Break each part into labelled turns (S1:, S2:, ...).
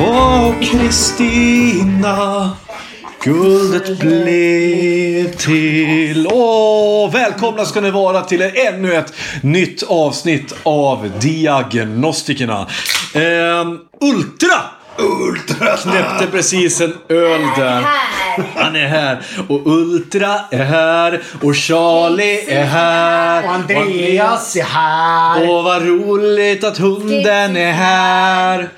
S1: Och Kristina Guldet blev till... Åh, välkomna ska ni vara till ännu ett nytt avsnitt av Diagnostikerna. Ehm, Ultra! Ultra knäppte precis en öl där. Han är här. Och Ultra är här. Och Charlie är här.
S2: Och Andreas är här.
S1: Åh, vad roligt att hunden är här.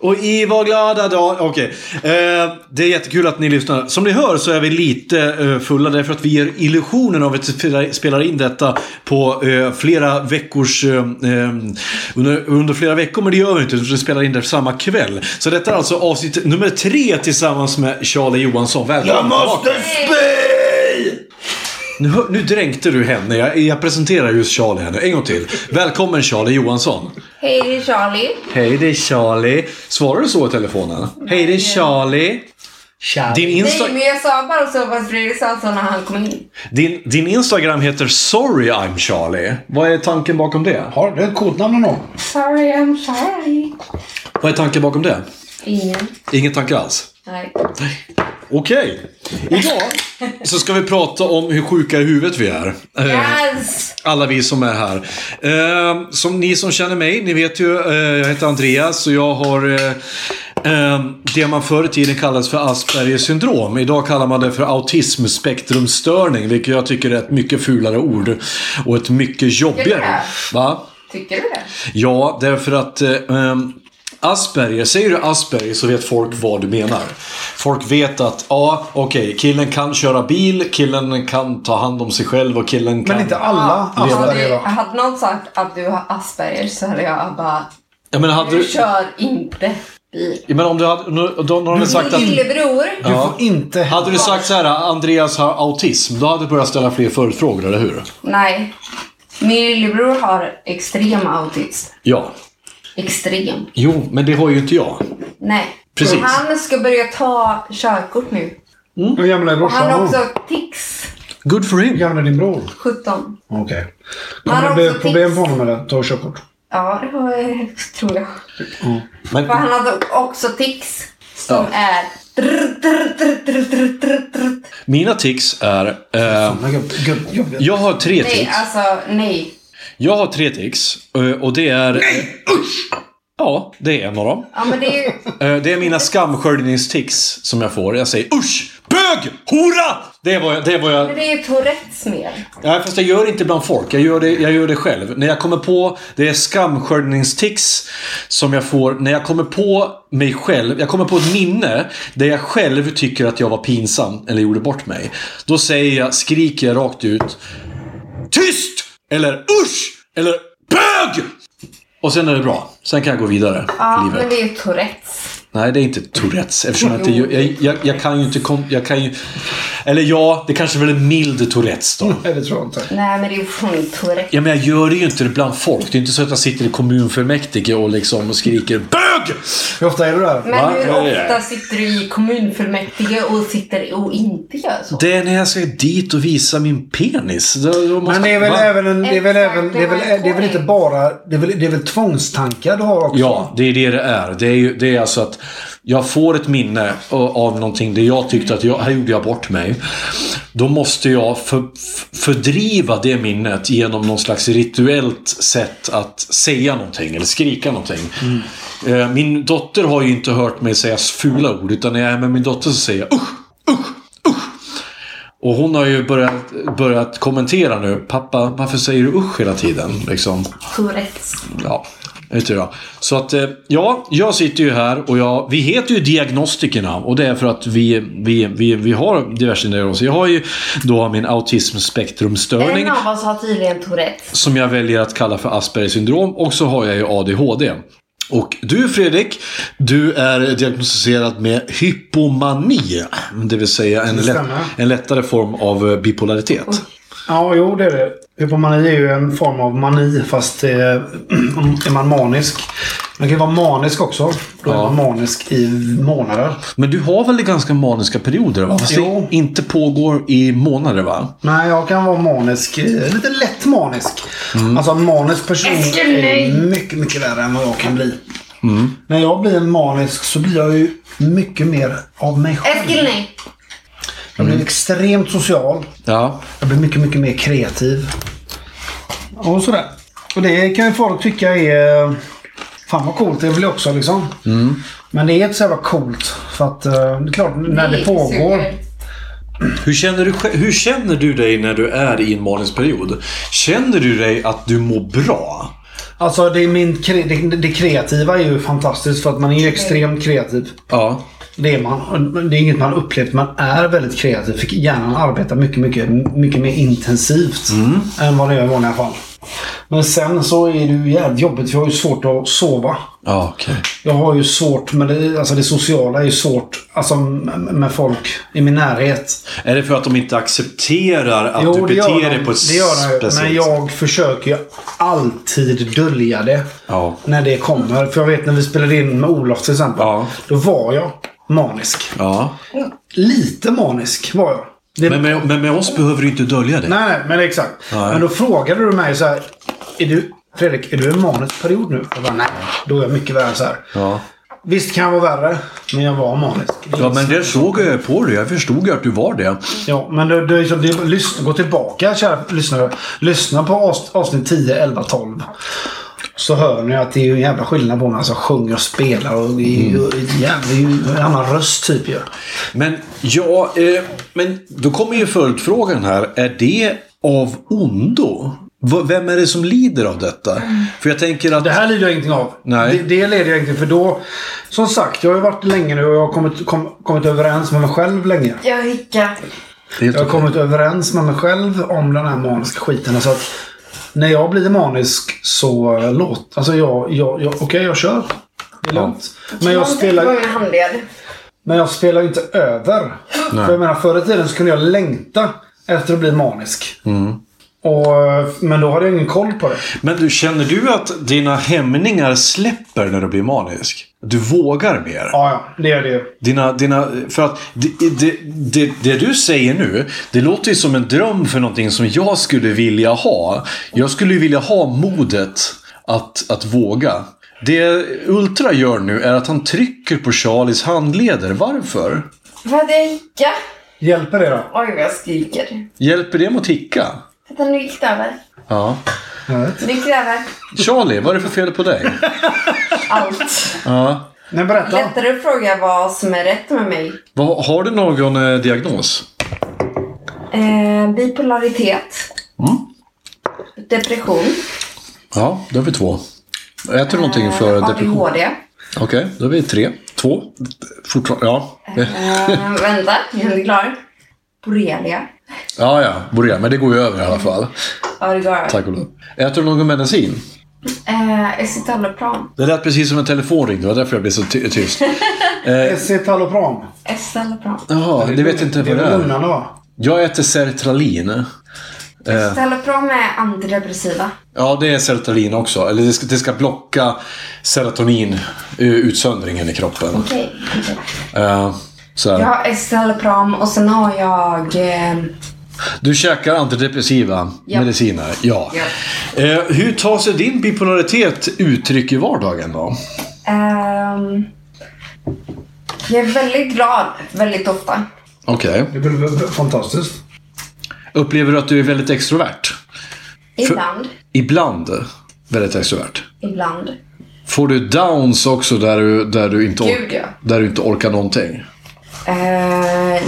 S1: Och i var glada dag... Okej. Eh, det är jättekul att ni lyssnar. Som ni hör så är vi lite eh, fulla därför att vi ger illusionen av att spela- spelar in detta på eh, flera veckors... Eh, eh, under, under flera veckor, men det gör vi inte. utan Vi spelar in det samma kväll. Så detta är alltså avsnitt nummer tre tillsammans med Charlie Johansson. Välkommen tillbaka.
S2: spy!
S1: Nu, hör- nu dränkte du henne. Jag, jag presenterar just Charlie här nu. En gång till. Välkommen Charlie Johansson.
S3: Hej, det är Charlie.
S1: Hej, det är Charlie. Svarar du så i telefonen? Hej, det är Charlie. Din, Insta
S3: Nej, men jag sa bara så vad Fredrik sa så när han kom in.
S1: din, din Instagram heter Sorry I'm Charlie. Vad är tanken bakom det?
S2: Har du ett kodnamn någon gång?
S3: Sorry, I'm sorry.
S1: Vad är tanken bakom det?
S3: Ingen.
S1: Ingen tanke alls?
S3: Nej.
S1: Okej. Idag så ska vi prata om hur sjuka i huvudet vi är. Eh,
S3: Yes!
S1: Alla vi som är här. Eh, som ni som känner mig, ni vet ju, eh, jag heter Andreas och jag har eh, eh, det man förr i tiden kallades för Aspergers syndrom. Idag kallar man det för autismspektrumstörning, vilket jag tycker är ett mycket fulare ord. Och ett mycket
S3: Tycker du
S1: jobbigare.
S3: det?
S1: Va?
S3: Tycker du det?
S1: Ja, därför att eh, ehm, Asperger, säger du Asperger så vet folk vad du menar. Folk vet att, ja, okej, killen kan köra bil, killen kan ta hand om sig själv och killen kan...
S2: Men inte alla
S3: Hade,
S2: Asperger då?
S3: hade någon sagt att du har Asperger så hade jag bara,
S1: Ja, men hade
S3: du
S1: du...
S3: kör inte bil.
S1: Ja, Men om du hade, om du- om någon hade sagt att...
S3: Lillebror.
S2: Du får inte...
S1: Hade du sagt så här, Andreas har autism, då hade du börjat ställa fler följdfrågor, eller hur?
S3: Nej. Min lillebror har extrem autism.
S1: Ja.
S3: Extrem.
S1: Jo, men det har ju inte jag.
S3: Nej.
S1: Precis.
S3: Han ska börja ta körkort nu.
S2: Hur gammal är
S3: Han har
S2: brorsan?
S3: också tics.
S1: Good for
S2: Hur
S1: him.
S2: gammal är din bror?
S3: 17.
S2: Okej.
S3: Han
S2: Kommer
S3: har
S2: det bli
S3: också
S2: problem
S3: tics.
S2: för honom eller? Ta körkort.
S3: Ja, det var, eh, tror jag.
S1: Men,
S3: För han hade också tics som
S1: Ja.
S3: är... drr, drr, drr, drr, drr, drr, drr.
S1: mina tics är... Eh,
S2: Men gud, gud, gud.
S1: jag har tre
S3: Nej,
S1: tics.
S3: alltså nej.
S1: Jag har tre tics eh, och det är... Nej, Ja, det är en av dem.
S3: Ja, men det är ju...
S1: Eh, Det är mina skamsköljningstics som jag får. Jag säger usch, bög, hora! Det är vad jag... Det är vad jag
S3: Men det är ju Tourettes mer.
S1: Nej, fast jag gör det inte bland folk. Jag gör det, jag gör det själv. När jag kommer på... Det är skamsköljningstics som jag får när jag kommer på mig själv. Jag kommer på ett minne där jag själv tycker att jag var pinsam eller gjorde bort mig. Då säger jag, skriker jag rakt ut. Tyst! Eller usch! Eller bög! Och sen är det bra. Sen kan jag gå vidare i
S3: Ja,
S1: livet.
S3: men det är ju Tourettes.
S1: Nej, det är inte Tourettes. Eftersom jag, inte, jag, jag, jag kan ju inte... Kon, jag kan ju, eller ja, det kanske väl är mild Tourettes då.
S2: Nej, det tror jag inte.
S3: Nej, men det är ju från Tourettes.
S1: Ja, men jag gör det ju inte bland folk. Det är inte så att jag sitter i kommunfullmäktige och liksom skriker BÖG!
S2: Hur ofta är du där?
S3: Men
S1: Va?
S3: hur
S1: Ja, ja.
S3: ofta sitter du i kommunfullmäktige och sitter och inte gör så?
S1: Det är när jag ska dit och visa min penis. Då, då måste,
S2: Men det är väl
S1: Va?
S2: även en... Det är väl
S3: Exakt,
S2: även...
S3: det
S2: Det är
S3: var
S2: väl,
S3: en
S2: det är väl inte
S3: poäng.
S2: bara... Det är väl, det är väl tvångstankar du har också?
S1: Ja, det är det det är. Det är, ju, det är alltså att jag får ett minne av av någonting där jag tyckte att jag, här gjorde jag bort mig. Då måste jag för, f- fördriva det minnet genom någon slags rituellt sätt att säga någonting eller skrika någonting. Eh, Min dotter har ju inte hört mig säga fula ord utan när jag är med min dotter så säger jag usch, usch, usch. Och hon har ju börjat, börjat kommentera nu. Pappa, varför säger du usch hela tiden? Liksom.
S3: Tourettes.
S1: Ja, det tror jag. Så att, eh, ja, jag sitter ju här och jag, vi heter ju Diagnostikerna och det är för att vi, vi, vi, vi har diverse diagnoser. Jag har ju då min autismspektrumstörning
S3: En av oss har tydligen Tourettes.
S1: som jag väljer att kalla för Aspergers syndrom och så har jag ju ADHD. Och du Fredrik, du är diagnostiserad med hypomani. Det vill säga en,
S2: Det
S1: lätt,
S2: stämmer.
S1: en lättare form av eh, bipolaritet.
S2: Ja, jo det är det. Hypomani är ju en form av mani fast eh, är man manisk. Man kan ju vara manisk också. Då är
S1: Ja.
S2: man manisk i månader.
S1: Men du har väl ganska maniska perioder? va? Fast
S2: Jo.
S1: det inte pågår i månader va?
S2: Nej, jag kan vara manisk. eh, Lite lätt manisk. Alltså en manisk person
S3: Eskil, nej.
S2: är mycket, mycket värre än vad jag kan bli. När jag blir en manisk så blir jag ju mycket mer av mig själv.
S3: Eskil nej.
S2: Jag blir extremt social.
S1: Ja.
S2: Jag blir mycket, mycket mer kreativ. Och sådär. Och det kan ju folk tycka är... Fan vad coolt, det vill jag också liksom. Men det är inte så jävla coolt. För att eh, det är klart, när det pågår.
S3: suger.
S1: Hur känner, du, sj- hur känner du dig när du är i en manisperiod? Känner du dig att du mår bra?
S2: Alltså det, är min kre- det, det kreativa är ju fantastiskt för att man är ju extremt kreativ.
S1: Ja.
S2: Det är man. Det är inget man upplevt. Man är väldigt kreativ. Fick hjärnan arbetar mycket, mycket, mycket mer intensivt än vad det gör i vanliga fall. Men sen så är det ju jävligt jobbigt. Jag har ju svårt att sova.
S1: Ja, okej.
S2: Jag har ju svårt med det, alltså det sociala är ju svårt alltså m- med folk i min närhet.
S1: Är det för att de inte accepterar att du
S2: det gör
S1: beter
S2: de.
S1: dig på ett
S2: det gör de,
S1: speciellt
S2: Men jag försöker ju alltid dölja det
S1: Ja.
S2: när det kommer. För jag vet när vi spelade in med Olof till exempel.
S1: Ja.
S2: Då var jag manisk.
S1: Ja.
S2: Lite manisk var jag. Det,
S1: Men med, men med oss behöver du inte dölja det.
S2: Nej, nej, men exakt.
S1: Nej.
S2: Men då frågade du mig så här. Är du, Fredrik, är du i en manisk period nu? Jag bara, nej. Då är jag mycket värre så här.
S1: Ja.
S2: Visst kan jag vara värre, men jag var manisk.
S1: ja, men det såg jag ju på dig. Jag förstod ju att du var det.
S2: Ja, men det, det, är liksom- det, är- lyssna, gå tillbaka kära lyssnare. Lyssna på avs- avsnitt 10, 11, 12. Så hör ni att det är ju en jävla skillnad på när han som sjunger och spelar. Och det är ju ett jävla- det är ju en annan röst typ ju.
S1: Men ja, eh, men då kommer ju följdfrågan här. Är det av ondo? V- Vem är det som lider av detta? För jag tänker att...
S2: Det här lider jag ingenting av.
S1: Nej.
S2: Det, det leder jag ingenting för då... Som sagt, jag har ju varit länge nu och jag har kommit, kom, kommit överens med mig själv länge.
S3: Jag hickar.
S1: Helt
S2: Jag har
S1: okej.
S2: kommit överens med mig själv om den här maniska skiten. Så att när jag blir manisk så eh, låt... Alltså jag... jag, jag Okej, jag kör. Det är lugnt. Men jag spelar...
S3: Jag handled.
S2: Men jag spelar ju inte över. För jag menar, förr i tiden så kunde jag längta efter att bli manisk.
S1: Mm.
S2: Och, eh, men då hade jag ingen koll på det.
S1: Men du, känner du att dina hämningar släpper när du blir manisk? Du vågar mer?
S2: Ja, ja, det är det ju.
S1: Dina, dina, för att det, det, det, det du säger nu, det låter ju som en dröm för någonting som jag skulle vilja ha. Jag skulle ju vilja ha modet att, att våga. Det Ultra gör nu är att han trycker på Charlies handleder. Varför?
S3: För att jag hickar.
S2: Hjälper det då?
S3: Oj vad jag skriker.
S1: Hjälper det mot hicka?
S3: Vänta nu gick det över.
S1: Ja.
S3: Nu gick det över.
S1: Charlie, vad är det för fel på dig?
S3: Allt.
S1: Ja.
S2: Nej, berätta.
S3: Lättare att fråga vad som är rätt med mig.
S1: Vad- Har du någon eh, diagnos?
S3: Eh, bipolaritet.
S1: Mm.
S3: Depression.
S1: Ja, då är vi två. Äter du någonting
S3: Eh,
S1: för depression?
S3: ADHD.
S1: Okej, då är vi tre. Två. Fortfarande, ja.
S3: Eh, vänta, jag är inte klar. Borrelia.
S1: Ja, ja. Borré. Men det går ju över i alla fall.
S3: Ja, det går över.
S1: Tack och lov. Äter du någon medicin?
S3: Eh, Escitalopram.
S1: Det lät precis som en telefonring. Det var därför jag blev så ty- tyst.
S2: Escitalopram.
S3: Escitalopram.
S1: Jaha, det vet inte
S2: Eh, Det är
S1: vad det
S2: väl
S1: är.
S2: lugnande va?
S1: Jag äter sertralin. Eh.
S3: Escitalopram är antidepressiva.
S1: Ja, det är sertralin också. Eller det ska, det ska blocka serotonin-utsöndringen i kroppen.
S3: Okej.
S1: Eh, så här.
S3: Jag har escitalopram och sen har jag... Eh,
S1: Du käkar antidepressiva
S3: Ja.
S1: mediciner. Ja.
S3: Ja.
S1: Eh, hur tar sig din bipolaritet uttryck i vardagen då?
S3: ehm, jag är väldigt glad väldigt ofta.
S1: Okej.
S2: Det blir väl fantastiskt.
S1: Upplever du att du är väldigt extrovert?
S3: Ibland.
S1: Ibland väldigt extrovert.
S3: Ibland.
S1: Får du downs också där du, där du, inte,
S3: Gud, ja.
S1: där du inte orkar någonting?
S3: Eh,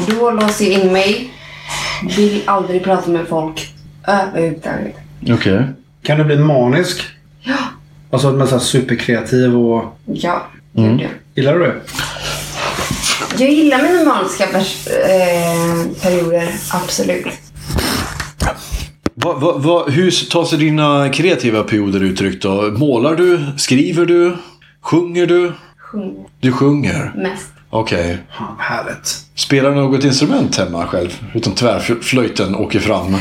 S3: då låser jag in mig Vill aldrig prata med folk överhuvudtaget.
S1: Okej.
S2: Kan du bli manisk?
S3: Ja.
S2: Alltså att man är så här superkreativ och...
S3: Ja, mm. gud ja.
S2: Gillar du det?
S3: Jag gillar mina maniska pers- eh, perioder, absolut.
S1: Va, va, va, hur tar sig dina kreativa perioder uttryck då? Målar du? Skriver du? Sjunger du?
S3: Sjunger
S1: Du sjunger?
S3: mest.
S1: Okej.
S2: Fan, vad härligt.
S1: Spelar du något instrument hemma själv? Utom tvärflöjten åker fram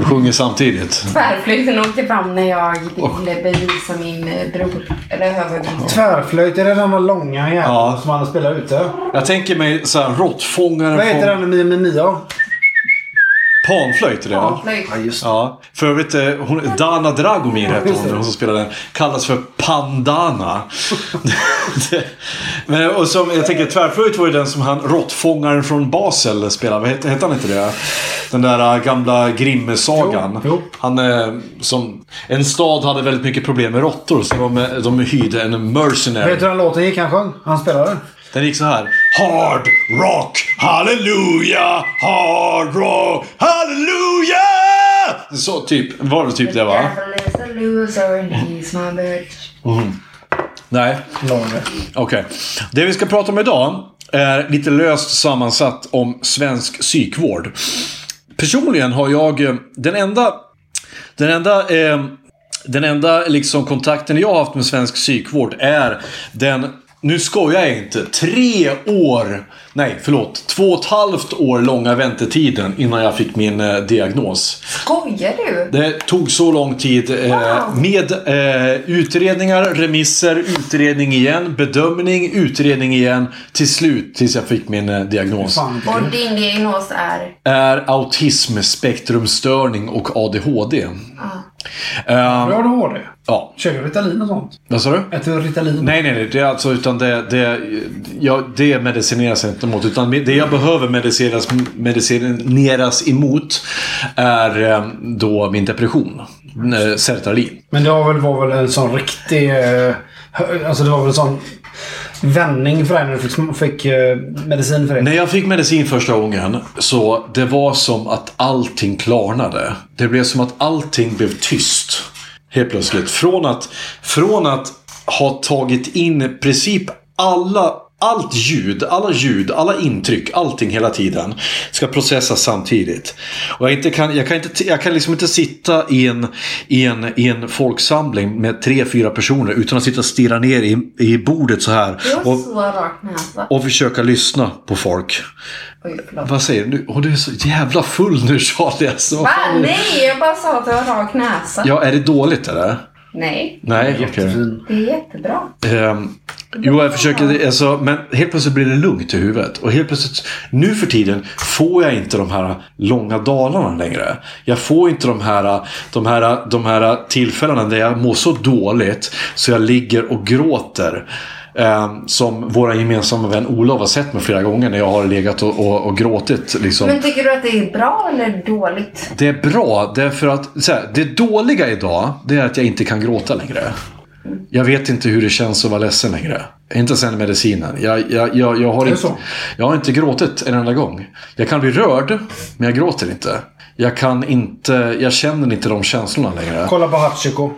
S1: och sjunger samtidigt.
S3: Tvärflöjten åkte fram när jag ville bevisa min eh, bror. Eller överbror.
S2: Tvärflöjt, är det den där långa jäveln
S1: Ja.
S2: som man spelar ute?
S1: Jag tänker mig så här råttfångaren
S2: Vad heter den med Mia?
S1: Panflöjt är det va?
S3: Panflöjt.
S2: Ja, just det.
S1: Ja, för övrigt, eh, hon, Dana Dragomir heter hon, hon som spelar den. Kallas för Pandana. Det- Men, och som, jag tänker tvärflöjt var ju den som han, råttfångaren från Basel spelade. Vad hette, hette han inte det? Den där eh, gamla Grimme-sagan.
S2: Jo, jo.
S1: Han eh, som... En stad hade väldigt mycket problem med råttor så de, äh, de hyrde en mercenary.
S2: Vet du den låten gick han sjöng? Han spelade.
S1: Den gick så här. Hard rock, halleluja, hard rock, halleluja! Så typ, var det typ det va?
S3: Devil is a loser and he's my bitch.
S1: Nej,
S2: Långe.
S1: okej. Det vi ska prata om idag är lite löst sammansatt om svensk psykvård. Personligen har jag eh, den enda... Den enda... Eh, den enda liksom kontakten jag har haft med svensk psykvård är den, nu skojar jag inte, tre år, nej förlåt, två och ett halvt år långa väntetiden innan jag fick min eh, diagnos.
S3: Skojar du?
S1: Det tog så lång tid eh,
S3: Wow.
S1: med eh, utredningar, remisser, utredning igen, bedömning, utredning igen. Till slut, tills jag fick min eh, diagnos,
S2: Fan, vilken
S3: Och din diagnos är?
S1: är autismspektrumstörning och ADHD.
S2: bra du har det.
S1: Eh, Ja,
S2: Kör du Ritalin och sånt?
S1: vad sa du?
S2: Äter du Ritalin?
S1: Nej, nej, nej. Det, är alltså, utan det, det, ja, det medicineras jag inte mot. Utan det jag behöver medicineras, medicineras emot är eh, då min depression. Eh, Sertralin.
S2: Men det var väl, var väl en sån riktig... eh, hö- Alltså det var väl en sån vändning för dig när du fick, fick eh, medicin för det.
S1: När jag fick medicin första gången så det var som att allting klarnade. Det blev som att allting blev tyst. Helt plötsligt. Från att, från att ha tagit in i princip alla allt ljud, alla ljud, alla intryck, allting hela tiden ska processas samtidigt. Och jag, inte kan, jag, kan inte, jag kan liksom inte sitta i en, i en, i en folksamling med tre, fyra personer utan att sitta och stirra ner i, i bordet så här
S3: Du har
S1: och,
S3: så rak näsa.
S1: och försöka lyssna på folk.
S3: Oj, förlåt.
S1: Vad säger du? Åh, du är så jävla full nu Charlie alltså. Vad
S3: Va?
S1: fan är det?
S3: Nej, jag bara sa att du har rak näsa.
S1: Ja, är det dåligt eller?
S3: Nej,
S1: Nej, okej.
S2: Jättefin.
S3: det är jättebra.
S1: Ehm, jo, jag försöker. Alltså, men helt plötsligt blir det lugnt i huvudet. Och helt plötsligt, nu för tiden, får jag inte de här långa dalarna längre. Jag får inte de här, de här, de här tillfällena där jag mår så dåligt så jag ligger och gråter. Ehm, som våra gemensamma vän Olof har sett mig flera gånger när jag har legat och, och, och gråtit. Liksom.
S3: Men tycker du att det är bra eller dåligt?
S1: Det är bra därför att så här, det dåliga idag det är att jag inte kan gråta längre. Jag vet inte hur det känns att vara ledsen längre. Inte sen medicinen. Jag, jag, jag, jag, har,
S2: det
S1: inte,
S2: så?
S1: jag har inte gråtit en enda gång. Jag kan bli rörd, men jag gråter inte. Jag kan inte, jag känner inte de känslorna längre.
S2: Kolla på Hachiko.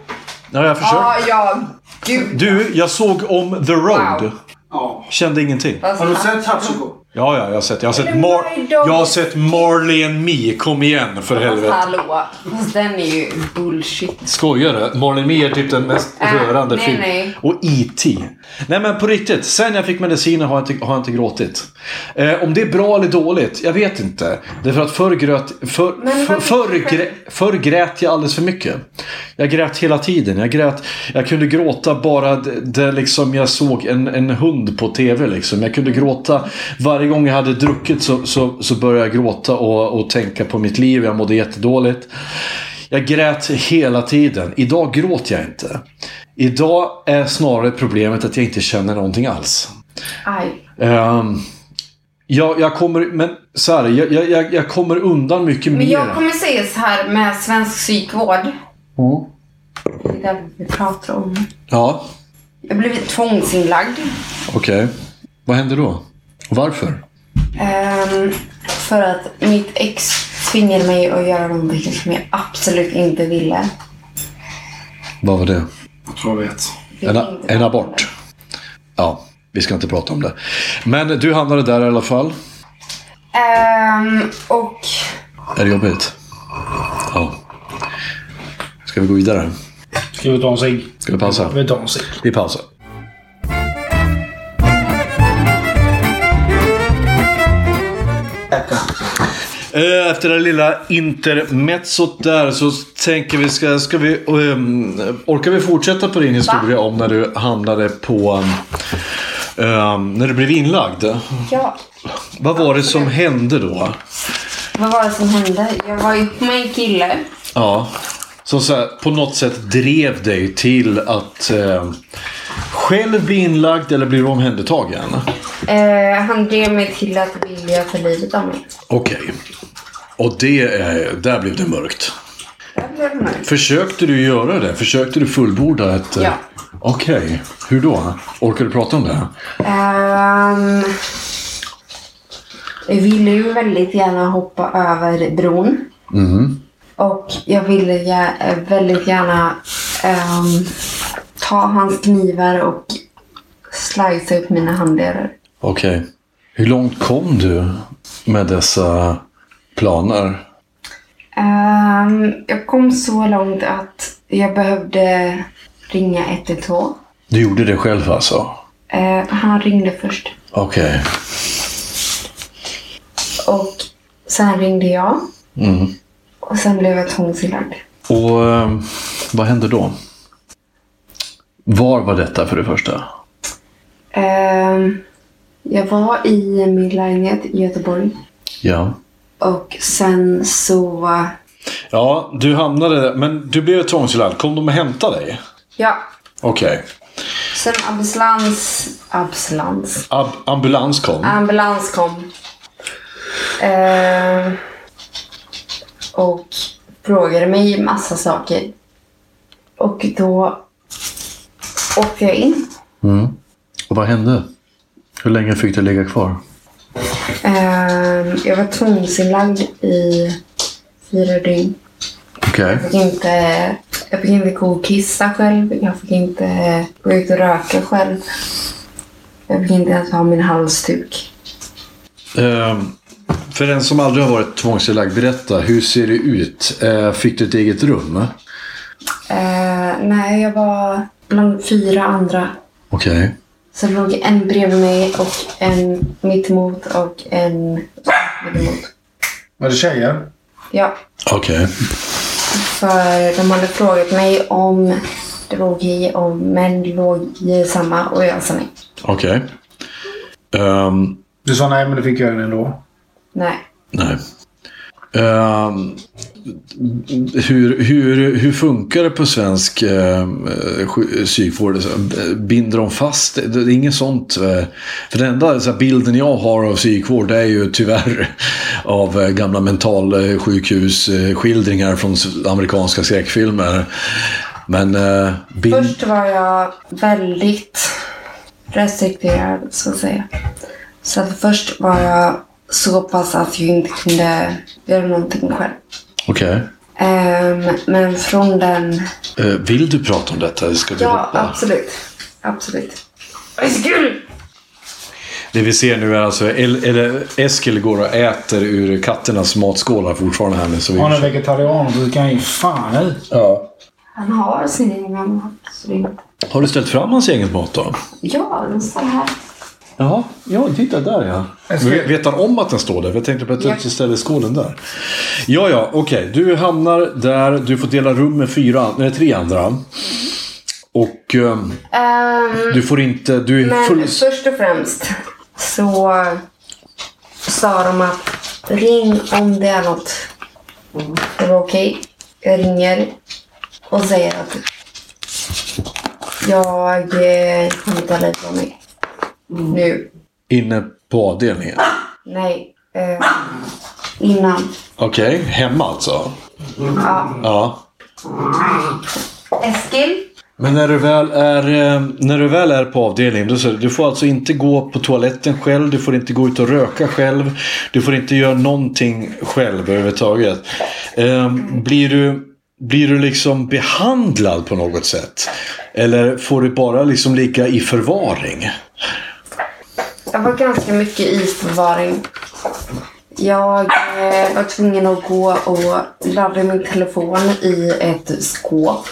S1: Ja, jag försöker.
S3: Ah, Ja, ja, gud.
S1: Du, jag såg om The Road.
S3: Wow.
S2: Ja.
S1: Kände ingenting.
S3: Alltså,
S2: Hachiko?
S1: Ja, ja, jag har sett. Jag har sett,
S3: Eller
S1: Mar-
S3: My Dog.
S1: jag har sett Marley and Me. Kom igen, för
S3: Fast
S1: helvete.
S3: Alltså, hallå, fast den är ju bullshit.
S1: Skojar du? Marley Me är typ den mest
S3: Äh,
S1: rörande
S3: nej,
S1: filmen.
S3: nej.
S1: Och E.T. Nej men på riktigt, sen jag fick medicinen har jag inte, har jag inte gråtit. Eh, om det är bra eller dåligt, jag vet inte. Därför att förr, gröt, för,
S3: Men
S1: för,
S3: vad-
S1: förr, grä, förr grät jag alldeles för mycket. Jag grät hela tiden. Jag, grät, jag kunde gråta bara d- där liksom jag såg en, en hund på TV. Liksom. Jag kunde gråta. Varje gång jag hade druckit så, så, så började jag gråta och, och tänka på mitt liv. Jag mådde jättedåligt. Jag grät hela tiden. Idag gråter jag inte. Idag är snarare problemet att jag inte känner någonting alls.
S3: Aj.
S1: Ehm, jag, jag, kommer, men, så här, jag, jag- jag, jag kommer undan mycket
S3: Men
S1: mer.
S3: jag kommer säga så här med svensk psykvård. Det är det vi pratar om.
S1: Ja,
S3: Jag blev tvångsinlagd.
S1: okej. Vad händer då? Och varför?
S3: ehm, för att mitt ex tvingade mig att göra någonting som jag absolut inte ville.
S1: Vad var det?
S2: Jag tror jag vet.
S3: Ville
S1: En,
S3: inte
S1: en
S3: prata
S1: abort.
S3: om
S1: Ja, vi ska inte prata om det. Men du hamnade där i alla fall.
S3: det. Ehm, och
S1: Är det jobbigt? Ja. Ska vi gå vidare?
S2: Ska vi ta en cigg?
S1: Ska vi pausa?
S2: Vi tar en cigg.
S1: Vi pausar. Eh, Efter det lilla intermezzot där så tänker vi, ska, ska vi, ehm, orkar vi fortsätta på din historia om när du hamnade på, ehm, när du blev inlagd?
S3: ja,
S1: Vad var det som hände då?
S3: vad var det som hände? Jag var ihop med en kille.
S1: Ja. Som så här, på något sätt drev dig till att eh, själv bli inlagd eller bli omhändertagen.
S3: Eh, han drev mig till att vilja ta livet av mig.
S1: Okej. Och det, eh, där blev det mörkt.
S3: Jag blev mörk.
S1: Försökte du göra det? Försökte du fullborda ett... eh,
S3: Ja.
S1: Okej. Hur då? Orkar du prata om det?
S3: Ehm, jag ville ju väldigt gärna hoppa över bron.
S1: Mm.
S3: Och jag ville gär, väldigt gärna ehm, ta hans knivar och slicea upp mina handleder.
S1: Okej. Hur långt kom du med dessa planer?
S3: Ehm, jag kom så långt att jag behövde ringa 112.
S1: Du gjorde det själv alltså?
S3: Eh, han ringde först
S1: Okej.
S3: och sen ringde jag.
S1: Mm.
S3: Och sen blev jag tvångsinlagd.
S1: Och eh, vad hände då? Var var detta för det första?
S3: Ehm, jag var i min lägenhet i Göteborg.
S1: Ja.
S3: Och sen så...
S1: Ja, du hamnade... Men du blev tvångsinlagd. Kom de och hämtade dig?
S3: Ja.
S1: Okej.
S3: Sen ambulans... Ambulans?
S1: Ab- ambulans kom.
S3: Ambulans kom. Ehm, och frågade mig massa saker. Och då åkte jag in.
S1: Och vad hände? Hur länge fick du ligga kvar?
S3: Ehm, jag var tvångsinlagd i fyra dygn.
S1: Okej.
S3: Jag fick inte, jag fick inte gå och kissa själv. Jag fick inte gå ut och röka själv. Jag fick inte ens ha min halsduk.
S1: Ehm, för den som aldrig har varit tvångsinlagd, berätta. Hur ser det ut? Eh, fick du ett eget rum?
S3: Eh, nej, jag var bland fyra andra.
S1: Okej.
S3: Så det låg en bredvid mig och en mittemot och en mittemot.
S2: Var det tjejer?
S3: Ja,
S1: Okej.
S3: för de hade frågat mig om droger och om män låg i samma och jag sa nej.
S1: Okej. Ehm,
S2: Du sa nej, men du fick göra det ändå.
S3: Nej.
S1: nej. Ehm, hur, hur, hur funkar det på svensk eh, sj- psykvård? eh, Binder de fast? Det är inget sånt. eh, För den enda så här, bilden jag har av psykvård det är ju tyvärr av eh, gamla mentalsjukhusskildringar från s- amerikanska skräckfilmer. Men eh, bind...
S3: Först var jag väldigt restrikterad, så att säga. Så att först var jag så pass att jag inte kunde göra någonting själv.
S1: Okej.
S3: Ehm, men från den...
S1: Eh, vill du prata om detta? Ska vi
S3: Ja,
S1: hoppa?
S3: absolut. Absolut.
S1: Det vi ser nu är alltså El- eller Eskil går och äter ur katternas matskålar fortfarande här nu. Så vi...
S2: Hon är vegetarian, så det kan jag ge fan i.
S1: ja.
S3: Han har sin egen mat. så det är inte-
S1: Har du ställt fram hans eget mat då?
S3: Ja, den står här.
S1: Jaha, ja titta där ja.
S2: Eskil.
S1: Vet- Vet han om att den står där? Jag tänkte på att
S3: Ja.
S1: du ställer skålen där. Ja, ja, okej. Du hamnar där. Du får dela rum med fyra, nej, tre andra. Och ehm,
S3: Ehm,
S1: du får inte... Du är
S3: men
S1: full...
S3: först och främst så sa de att ring om det är något. Det var okej. Jag ringer och säger att jag eh, kommer ta livet av mig. Nu.
S1: Inne på avdelningen.
S3: Nej. Eh, innan.
S1: Okej, hemma alltså?
S3: Ja.
S1: Ja.
S3: Eskil,
S1: Men när du väl är, eh, när du väl är på avdelningen, då så, du får alltså inte gå på toaletten själv, du får inte gå ut och röka själv, du får inte göra någonting själv överhuvudtaget. Eh, Blir du, blir du liksom behandlad på något sätt? Eller får du bara liksom ligga i förvaring?
S3: Jag var ganska mycket i förvaring. Jag eh, var tvungen att gå och ladda min telefon i ett skåp.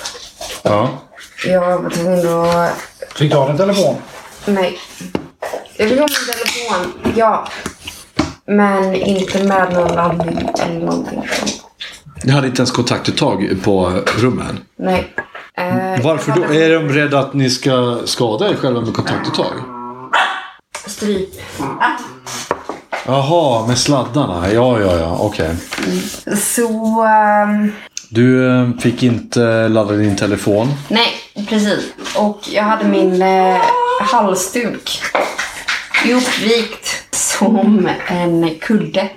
S1: Ja.
S3: Jag var tvungen att...
S2: Fick du ha din telefon?
S3: Nej. Jag fick ha min telefon, ja. Men inte med någon laddning eller någonting sånt.
S1: Jag hade inte ens kontaktuttag på rummen.
S3: Nej. Eh,
S1: Varför
S3: jag
S1: då?
S3: hade
S1: Är de rädda att ni ska skada er själva med kontaktuttag?
S3: Stryp.
S1: Jaha, med sladdarna. Ja, ja, ja. Okej.
S3: Så... ehm,
S1: Du eh, fick inte ladda din telefon.
S3: Nej, precis. Och jag hade min eh, halsduk uppvikt som en kudde.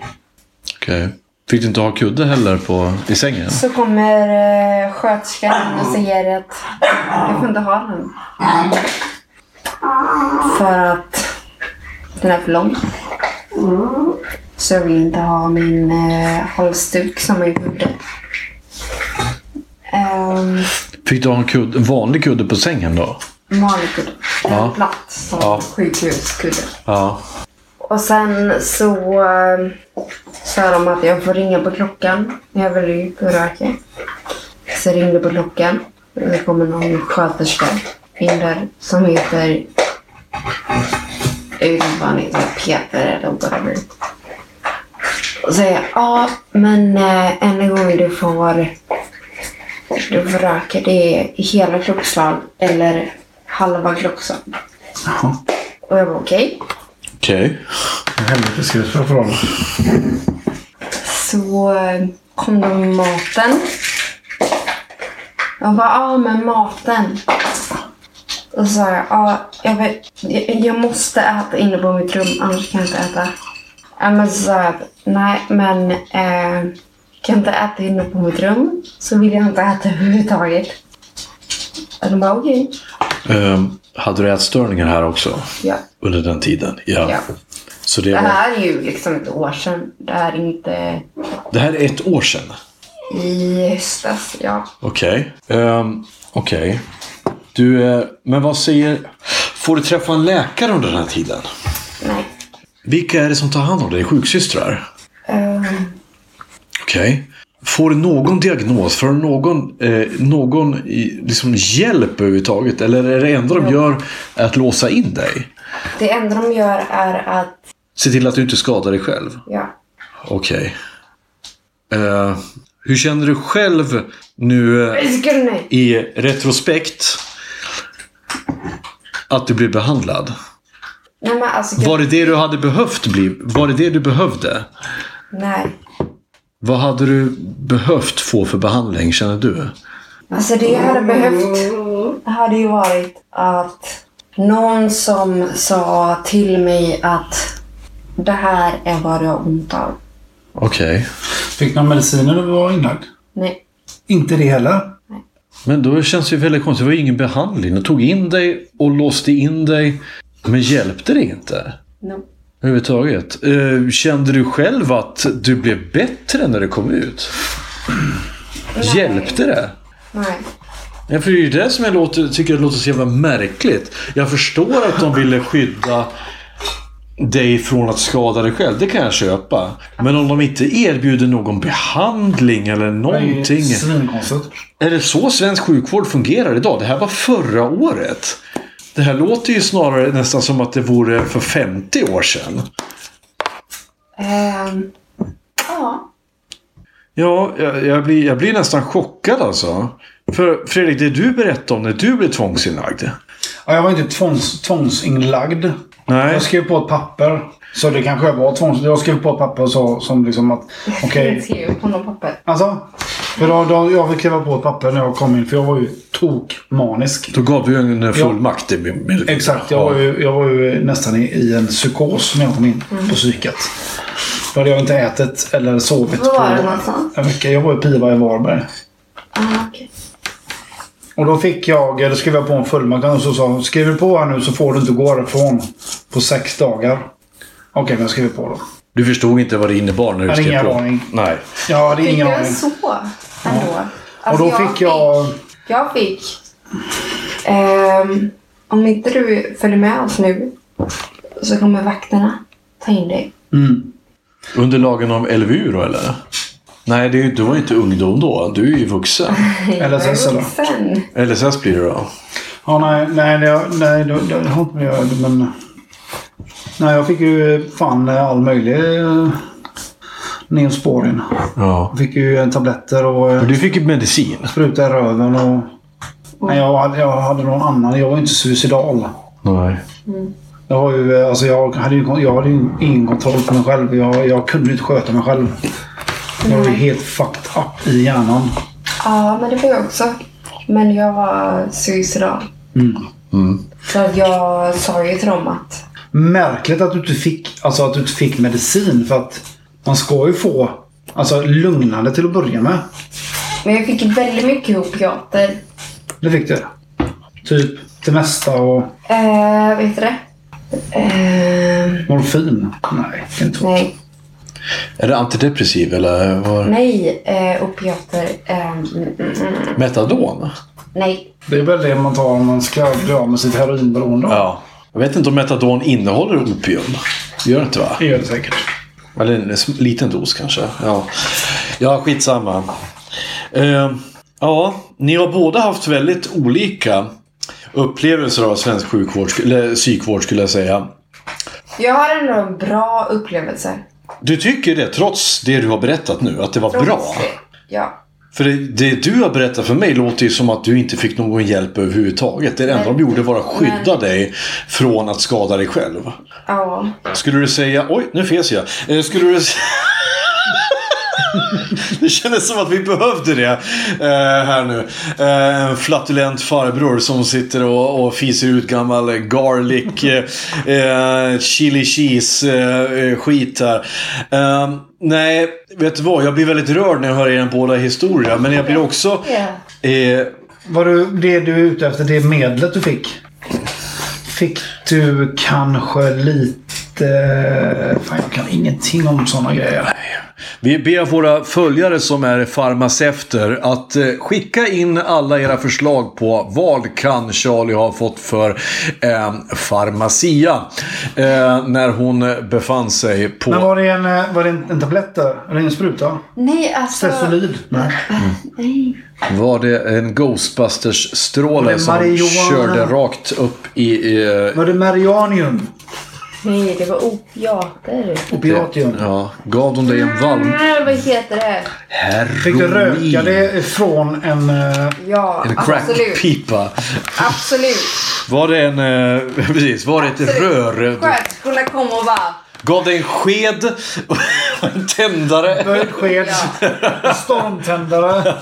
S1: Okej. Fick du inte ha kudde heller på, i sängen?
S3: Så kommer eh, sköterskan och säger att jag får inte ha den. För att den är för lång. Så jag vill inte ha min eh, halsduk som en kudde. Ehm,
S1: Fick du ha en, kudde, en vanlig kudde på sängen då?
S3: vanlig kudde. Den
S1: Ja.
S3: platt som
S1: Ja.
S3: sjukhuskudde.
S1: Ja.
S3: Och sen så eh, sa de att jag får ringa på klockan när jag vill ut och röka. Så jag ringde på klockan. Och Det kommer någon sköterska in där som heter... Jag vet inte vad han heter. Peter eller whatever. Och säger ja, men eh, en gång du får... Du får röka. Det är hela klockslag eller halva klockslag.
S2: Jaha.
S3: Och jag var okej.
S1: Okej.
S2: Helvete ska du spela för honom?
S3: Så eh, kom de med maten. Jag bara, ja ah, men maten. Och så sa jag, ah, jag, vet, jag, jag måste äta inne på mitt rum annars kan jag inte äta. Ja, men så sa jag, att, nej men eh, kan jag inte äta inne på mitt rum så vill jag inte äta överhuvudtaget. Och de bara, okej.
S1: Ehm, hade du ätstörningar här också?
S3: Ja.
S1: Under den tiden? Ja.
S3: Ja.
S1: Så det,
S3: Det
S1: var,
S3: här är ju liksom ett år sedan. Det här är inte
S1: det här är ett år sedan?
S3: i höstas. Ja.
S1: Okej. Ehm, Okej. Du, eh, men vad säger... Får du träffa en läkare under den här tiden?
S3: Nej.
S1: Vilka är det som tar hand om dig? Sjuksystrar?
S3: Eh,
S1: Okej. Får du någon diagnos? Får du någon, eh, någon i, liksom hjälp överhuvudtaget? Eller är det enda de gör är att låsa in dig?
S3: Det enda de gör är att,
S1: Se till att du inte skadar dig själv?
S3: ja,
S1: Okej. Eh, hur känner du själv nu eh,
S3: skulle nej.
S1: i retrospekt? Att du blir behandlad?
S3: Nej men alltså,
S1: Var det det du hade behövt bli? Var det det du behövde?
S3: nej.
S1: Vad hade du behövt få för behandling, känner du?
S3: Alltså det jag hade behövt hade ju varit att någon som sa till mig att det här är vad du har ont av.
S1: Okej.
S2: Fick någon medicin när du var inlagd?
S3: Nej.
S2: Inte det heller.
S1: Men då känns det ju väldigt konstigt. Det var ju ingen behandling. De tog in dig och låste in dig. Men hjälpte det inte?
S3: No.
S1: Överhuvudtaget. Eh, Kände du själv att du blev bättre när du kom ut? Hjälpte det?
S3: Nej.
S1: Ja, för det är ju det som jag låter, tycker jag låter så jävla märkligt. Jag förstår att de ville skydda dig från att skada dig själv. Det kan jag köpa. Men om de inte erbjuder någon behandling eller någonting.
S2: Svinkonstigt.
S1: Är det så svensk sjukvård fungerar idag? Det här var förra året. Det här låter ju snarare nästan som att det vore för 50 år sedan.
S3: Ehm, ja.
S1: Ja, jag, jag, blir, jag blir nästan chockad alltså. För Fredrik, det du berättade om när du blev tvångsinlagd.
S2: Ja, jag var inte tvångs, tvångsinlagd.
S1: Nej.
S2: Jag skrev på ett papper. Så det kanske jag var tvångs... Jag skrev på ett papper så, som liksom att... Okej.
S3: Jag skrev på något papper.
S2: Alltså. För då, då, jag fick skriva på ett papper när jag kom in. För jag var ju tokmanisk.
S1: Då gav du en eh, fullmakt. i min- min-
S2: Exakt. Jag var ju, jag var ju nästan i, i en psykos när jag kom in
S3: Mm.
S2: på psyket. Då hade jag inte ätit eller sovit
S3: Var var det
S2: på
S3: någonstans?
S2: en vecka. Jag var ju piva i Varberg.
S3: Ah, okej.
S2: Och då fick jag, då skrev jag på en fullmakt och så sa hon skriver du på här nu så får du inte gå härifrån på sex dagar. Okej, men jag skriver på då.
S1: Du förstod inte vad det innebar när du
S2: hade
S1: skrev
S2: ingen
S1: på?
S2: aning.
S1: Nej.
S2: Jag hade ingen
S3: jag
S2: aning.
S3: så ändå.
S2: Och
S3: Alltså,
S2: då fick jag...
S3: Jag fick... ehm, om inte du följer med oss nu så kommer vakterna ta in dig.
S2: Mm.
S1: Under lagen om LVU då eller? Nej, det är, ju- du var ju inte ungdom då. Du är ju vuxen.
S2: LSS eller?
S3: Sen.
S1: LSS blir det då.
S2: Ja, nej, nej, det, nej, det, det, det har inte med att göra, men... Nej, jag fick ju fan all möjlig eh, neosporin.
S1: Ja.
S2: Jag fick ju eh, tabletter och eh,
S1: Men du fick ju medicin.
S2: spruta i röven och... Nej, jag, hade- jag hade någon annan. Jag var inte suicidal.
S1: Nej.
S2: Jag, var ju, eh, alltså jag, hade ju, jag hade ju ingen kontroll på mig själv. Jag, jag kunde inte sköta mig själv. Jag var ju helt fucked up i hjärnan.
S3: Ja, men det var jag också. Men jag var suicidal. Så att jag sa ju till dem att
S2: Märkligt att du inte fick, alltså att du inte fick medicin för att man ska ju få alltså, lugnande till att börja med.
S3: men jag fick ju väldigt mycket opiater.
S2: Det fick du. Typ det mesta och
S3: Eh, vet du det? Eh,
S2: morfin. Nej, inte så.
S3: nej,
S1: Är det antidepressiv eller vad?
S3: nej, eh, opiater. Eh, mm, mm, mm,
S1: Metadon?
S3: nej,
S2: Det är väl det man tar om man ska bli av med sitt heroinberoende.
S1: Ja. Jag vet inte om metadon innehåller opium. Gör det inte va?
S2: Det gör det säkert.
S1: Eller en s- liten dos kanske. Ja, ja skitsamma. Eh, ja, ni har båda haft väldigt olika upplevelser av svensk sjukvård, sk- eller psykvård skulle jag säga.
S3: Jag har ändå en bra upplevelse.
S1: Du tycker det trots det du har berättat nu, att det var
S3: Trots
S1: bra?
S3: det. Ja.
S1: För det, det du har berättat för mig låter ju som att du inte fick någon hjälp överhuvudtaget. Det enda de gjorde var att skydda dig från att skada dig själv.
S3: Ja.
S1: Skulle du säga... Oj, nu fes jag. Eh, Skulle du... s- Det kändes som att vi behövde det eh, här nu. Eh, En flatulent farbror som sitter och, och fiser ut gammal garlic, eh, eh, chili cheese eh, eh, skit här. Eh, nej, vet du vad? Jag blir väldigt rörd när jag hör er båda historia. Men jag blir också... Eh,
S2: Var du, det du är ute efter, det medlet du fick. Fick du kanske lite... Fan, jag kan ingenting om sådana grejer.
S1: Vi ber våra följare som är farmaceuter att eh, skicka in alla era förslag på vad kan Charlie ha fått för eh, farmacia eh, när hon eh, befann sig på...
S2: Men var det en, eh, var det en, en tablett där? Eller en spruta?
S3: Nej, alltså.
S2: Stesolid? Nej.
S3: Nej.
S1: Var det en
S2: Var
S1: Ghostbusters-stråle
S2: det
S1: som
S2: marijuana?
S1: körde rakt upp i... Eh,
S2: Var det Marianium?
S3: Nej, det var opiater.
S2: Opiatium?
S1: ja, gav de dig en valm?
S3: Nej, vad heter det?
S2: Fick du röka
S1: Heroin?
S2: det från en... eh,
S3: Ja,
S1: En
S3: absolut.
S1: crackpipa?
S3: Absolut.
S1: Var det en... Eh, precis, var det ett
S3: Absolut.
S1: rör?
S3: Sköterskorna kom och bara.
S1: Gav dig en sked och en tändare.
S2: Böjd sked. Stormtändare.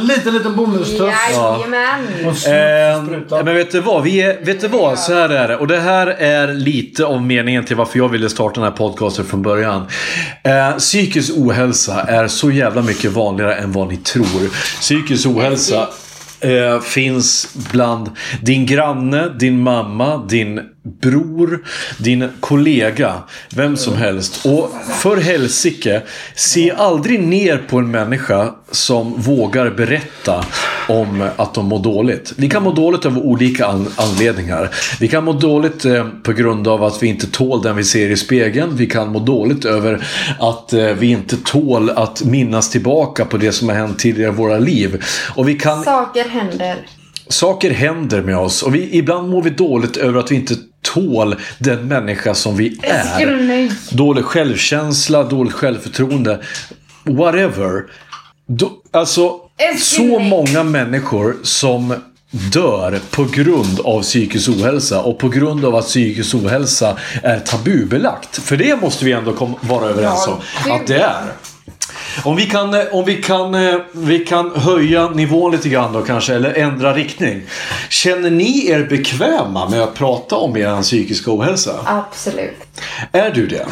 S2: Liten, liten bomullstuss.
S3: Jajamän.
S2: Och
S1: Eh,
S2: spruta.
S1: men vet du vad? Vi är, vet du vad? Så här är det. Och det här är lite av meningen till varför jag ville starta den här podcasten från början. Eh, psykisk ohälsa är så jävla mycket vanligare än vad ni tror. Psykisk ohälsa eh, finns bland din granne, din mamma, din bror, din kollega, vem som helst. Och för helsike, se aldrig ner på en människa som vågar berätta om att de mår dåligt. Vi kan må dåligt av olika an- anledningar. Vi kan må dåligt eh, på grund av att vi inte tål den vi ser i spegeln. Vi kan må dåligt över att eh, vi inte tål att minnas tillbaka på det som har hänt tidigare i våra liv. Och vi kan
S3: Saker händer.
S1: Saker händer med oss och vi, ibland mår vi dåligt över att vi inte tål den människa som vi är.
S3: Nej.
S1: Dålig självkänsla, dåligt självförtroende. Whatever. Då, alltså, så många människor som dör på grund av psykisk ohälsa och på grund av att psykisk ohälsa är tabubelagt. För det måste vi ändå kom, vara överens om
S3: Ja,
S1: att det är. Om vi kan, eh, om vi kan, vi kan höja nivån lite grann då kanske, eller ändra riktning. Känner ni er bekväma med att prata om er psykiska ohälsa?
S3: Absolut.
S1: Är du det?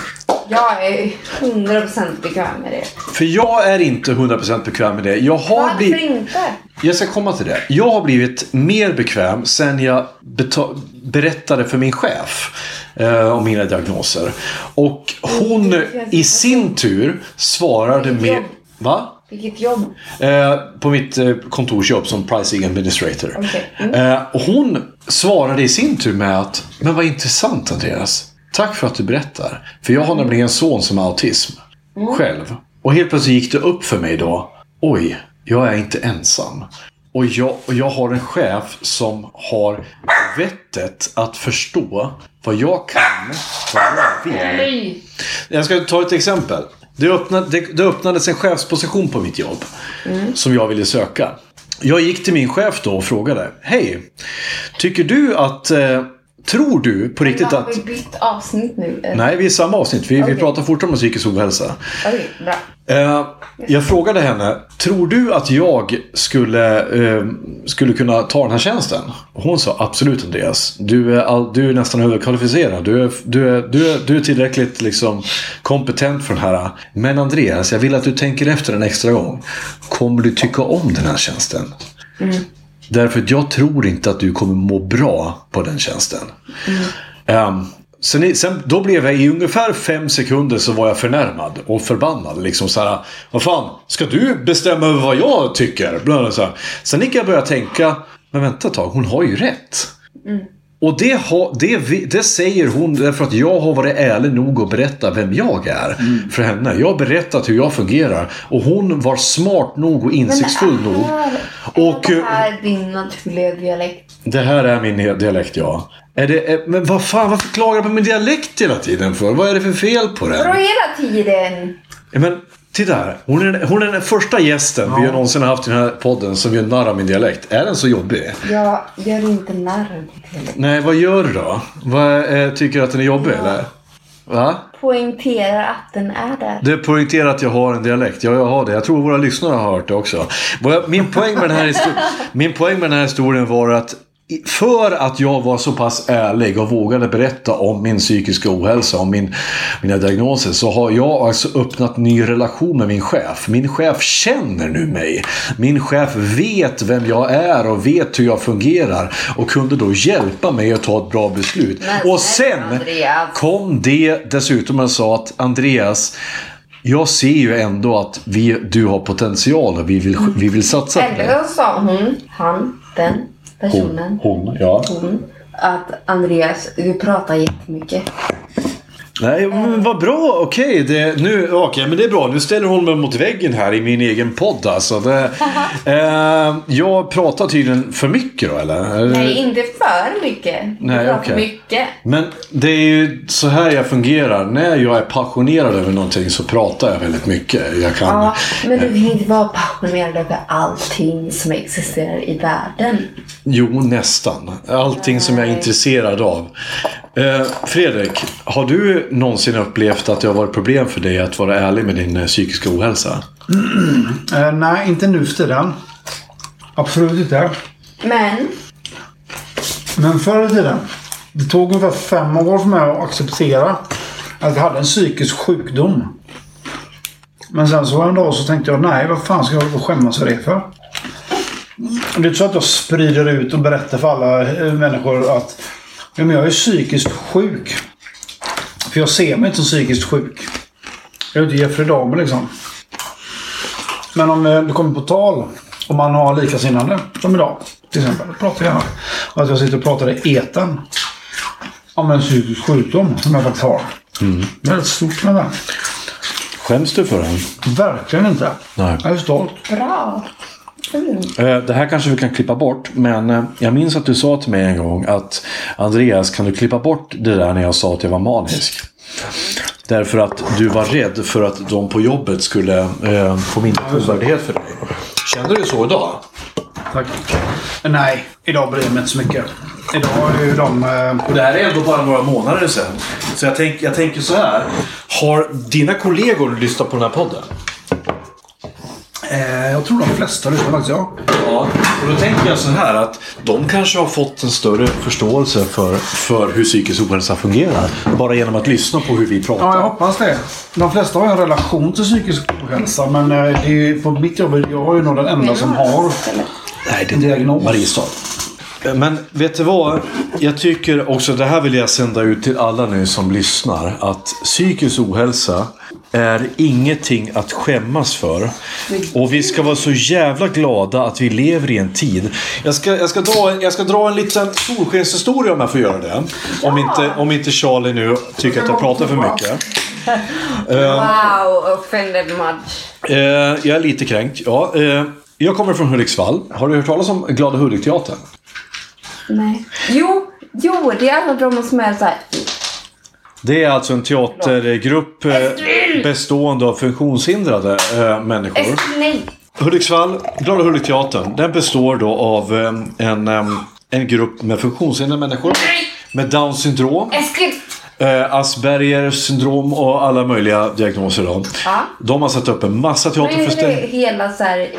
S3: Jag är 100% bekväm med det.
S1: För jag är inte 100% bekväm med det. Jag har
S3: Varför
S1: blivit...
S3: inte?
S1: Jag ska komma till det. Jag har blivit mer bekväm sen jag beta- berättade för min chef eh, om mina diagnoser. Och hon i sin tur svarade med... Va?
S3: Vilket jobb.
S1: Eh, på mitt eh, kontorsjobb som pricing administrator.
S3: Okej.
S1: Eh, och hon svarade i sin tur med att Men vad intressant Andreas. Tack för att du berättar. För jag har nämligen en son som har autism. Själv. Och helt plötsligt gick det upp för mig då. Oj, jag är inte ensam. Och jag, och jag har en chef som har vettet att förstå vad jag kan, vad jag vill.
S3: Nej.
S1: Jag ska ta ett exempel. Det, öppna, det, det öppnades en chefsposition på mitt jobb
S3: Mm.
S1: som jag ville söka. Jag gick till min chef då och frågade. Hej! Tycker du att... Eh, tror du på riktigt
S3: Har
S1: att...
S3: vi bytt avsnitt nu? Eh, eller?
S1: Nej, vi är i samma avsnitt. Vi,
S3: Okej.
S1: vi pratar fortfarande om psykisk ohälsa.
S3: Okej, bra.
S1: Eh, jag frågade henne, tror du att jag skulle, eh, skulle kunna ta den här tjänsten? Och Hon sa, absolut Andreas. Du är, all, du är nästan överkvalificerad. Du är, du är, du är, du är tillräckligt liksom, kompetent för den här. Men Andreas, jag vill att du tänker efter en extra gång. Kommer du tycka om den här tjänsten? Därför att jag tror inte att du kommer må bra på den tjänsten. Ehm, sen, i- sen, då blev jag i ungefär fem sekunder så var jag förnärmad och förbannad. Liksom så här, vad fan, ska du bestämma över vad jag tycker? Bland annat Så här. Sen gick jag och började tänka, men vänta ett tag, hon har ju rätt. Och det, har, det, vi- det säger hon därför att jag har varit ärlig nog att berätta vem jag är för henne. Jag har berättat hur jag fungerar och hon var smart nog och insiktsfull nog.
S3: Och...
S1: Och,
S3: Det här är din naturliga dialekt.
S1: det här är min dialekt, ja. Är det, är, men vad fan, varför klagar jag på min dialekt hela tiden för? Vad är det för fel på
S3: Bra
S1: den?
S3: hela tiden.
S1: Ja, Men, titta här. Hon är, hon är den första gästen vi någonsin har haft i den här podden som gör narr av min dialekt. Är den så jobbig?
S3: Jag gör inte narr av mitt dialekt.
S1: Nej, vad gör du då? Vad, eh, tycker du att den är jobbig, eller? Va?
S3: Poängterar att den är där.
S1: Det poängterar att jag har en dialekt. Ja, jag har det. Jag tror våra lyssnare har hört det också. Vad jag- Min poäng med den här, histor- min poäng med den här historien var att i- för att jag var så pass ärlig och vågade berätta om min psykiska ohälsa, om min, mina diagnoser, så har jag alltså öppnat ny relation med min chef. Min chef känner nu mig. Min chef vet vem jag är och vet hur jag fungerar och kunde då hjälpa mig att ta ett bra beslut.
S3: Men
S1: Och
S3: snälla,
S1: sen
S3: Andreas.
S1: kom det dessutom och sa att Andreas, jag ser ju ändå att vi, du har potential och vi vill,
S3: Mm.
S1: vi vill satsa på dig.
S3: Eller så sa hon, han, den personen,
S1: Hon, ja.
S3: hon, att Andreas, du pratar jättemycket.
S1: Nej, men vad bra. Okej, det, nu, okej, men det är bra. Nu ställer hon mig mot väggen här i min egen podd. Alltså. Det, eh, jag pratar tydligen för mycket då, eller?
S3: Nej, inte för mycket. Du
S1: Nej,
S3: pratar
S1: okej.
S3: mycket.
S1: Men det är ju så här jag fungerar. När jag är passionerad över någonting så pratar jag väldigt mycket. Jag kan...
S3: Ja, men du kan inte vara passionerad över allting som existerar i världen.
S1: Jo, nästan. Allting som jag är intresserad av. Eh, Fredrik, har du någonsin upplevt att det har varit problem för dig att vara ärlig med din eh, psykiska ohälsa?
S2: Eh, nej, inte nu för tiden. Absolut inte.
S3: Men
S2: Men förr i tiden. Det tog ungefär fem år för mig att acceptera att jag hade en psykisk sjukdom. Men sen så en dag så tänkte jag, nej vad fan ska jag hålla på och skämmas för det för? Det är inte så att jag sprider ut och berättar för alla eh, människor att ja, men jag är psykiskt sjuk. För jag ser mig inte som psykiskt sjuk. Jag är inte Jeffrey Dahmer liksom. Men om eh, det kommer på tal, om man har likasinnande, som idag till exempel, pratar jag och att jag sitter och pratar i etern om en psykisk sjukdom som jag faktiskt har.
S1: Mm.
S2: Väldigt stort med det.
S1: Skäms du för den?
S2: Verkligen inte.
S1: Nej.
S2: Jag är stolt.
S3: bra. Fint.
S1: Eh, Det här kanske vi kan klippa bort, men eh, jag minns att du sa till mig en gång att Andreas, kan du klippa bort det där när jag sa att jag var manisk? Därför att du var rädd för att de på jobbet skulle eh, få mindre trovärdighet för dig. Känner du så idag?
S2: Tack. Nej, idag bryr jag mig inte så mycket. Idag är ju de... Eh,
S1: Och det här är ändå bara några månader sedan. Så jag, tänk, jag tänker så här. Har dina kollegor lyssnat på den här podden?
S2: eh, jag tror de flesta lyssnar faktiskt, ja.
S1: Ja, och då tänker jag så här att de kanske har fått en större förståelse för, för hur psykisk ohälsa fungerar. Bara genom att lyssna på hur vi pratar.
S2: Ja, jag hoppas det. De flesta har ju en relation till psykisk ohälsa, men eh, det är ju, på mitt jobb jag har ju nog den enda som har.
S1: Nej, det
S2: Diagnos.
S1: Mariestad. Eh, Men vet du vad? Jag tycker också, det här vill jag sända ut till alla nu som lyssnar. Att psykisk ohälsa är ingenting att skämmas för. Och vi ska vara så jävla glada att vi lever i en tid. Jag ska, jag ska, dra, jag ska dra en liten solskenshistoria om jag får göra det. Om inte, om inte Charlie nu tycker att jag pratar för mycket.
S3: Wow, offended much.
S1: Eh, jag är lite kränkt, ja. Eh, jag kommer från Hudiksvall. Har du hört talas om Glada Hudik-teatern?
S3: Nej. Jo, jo, det är alla de som är såhär...
S1: Det är alltså en teatergrupp eh, bestående av funktionshindrade eh, människor.
S3: Nej.
S1: Hudiksvall, Glada Hudik-teatern, den består då av eh, en, em, en grupp med funktionshindrade människor. Med Downs syndrom,
S3: Eskil!
S1: eh, Aspergers syndrom och alla möjliga diagnoser. Då.
S3: Ja.
S1: De har satt upp en massa
S3: Nu är det
S1: teaterföreställningar.
S3: hela såhär...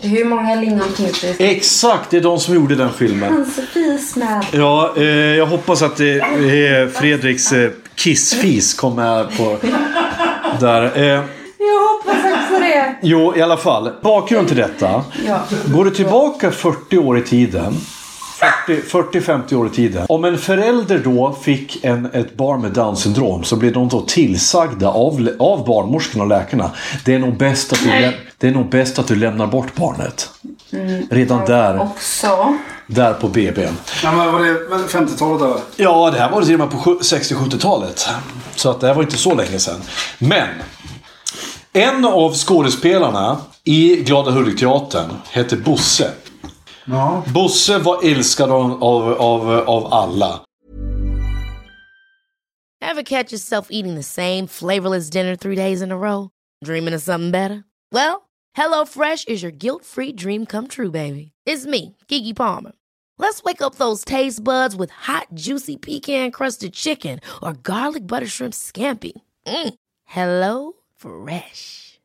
S3: Hur många lingon finns det? i-
S1: Exakt, det är de som gjorde den filmen.
S3: Hans med.
S1: Ja, eh, jag hoppas att eh, eh, Fredriks eh, kissfis kom med på... Där. Eh,
S3: Jag hoppas också det.
S1: jo, i alla fall. Bakgrund till detta.
S3: Ja.
S1: Går du tillbaka 40 år i tiden. 40 40-50 år i tiden. Om en förälder då fick en, ett barn med down syndrom så blev de då tillsagda av, av barnmorskorna och läkarna. Det är, nog bäst att du, läm- det är nog bäst att du lämnar bort barnet. Redan där,
S3: Mm. Också.
S1: där på BB'n.
S2: Ja, men var det 50-talet eller?
S1: Ja, det här var det till och med på sju- 60-70-talet. Så att det här var inte så länge sedan. Men! En av skådespelarna i Glada Hudik-teatern hette Bosse.
S2: Ja.
S1: Bosse var älskad av, av, av, av alla.
S4: Ever catch yourself eating the same flavorless dinner three days in a row? Dreaming of something better? Well, HelloFresh is your guilt-free dream come true, baby. It's me, Kiki Palmer. Let's wake up those taste buds with hot, juicy pecan-crusted chicken or garlic butter shrimp scampi. Mm. Hello Fresh.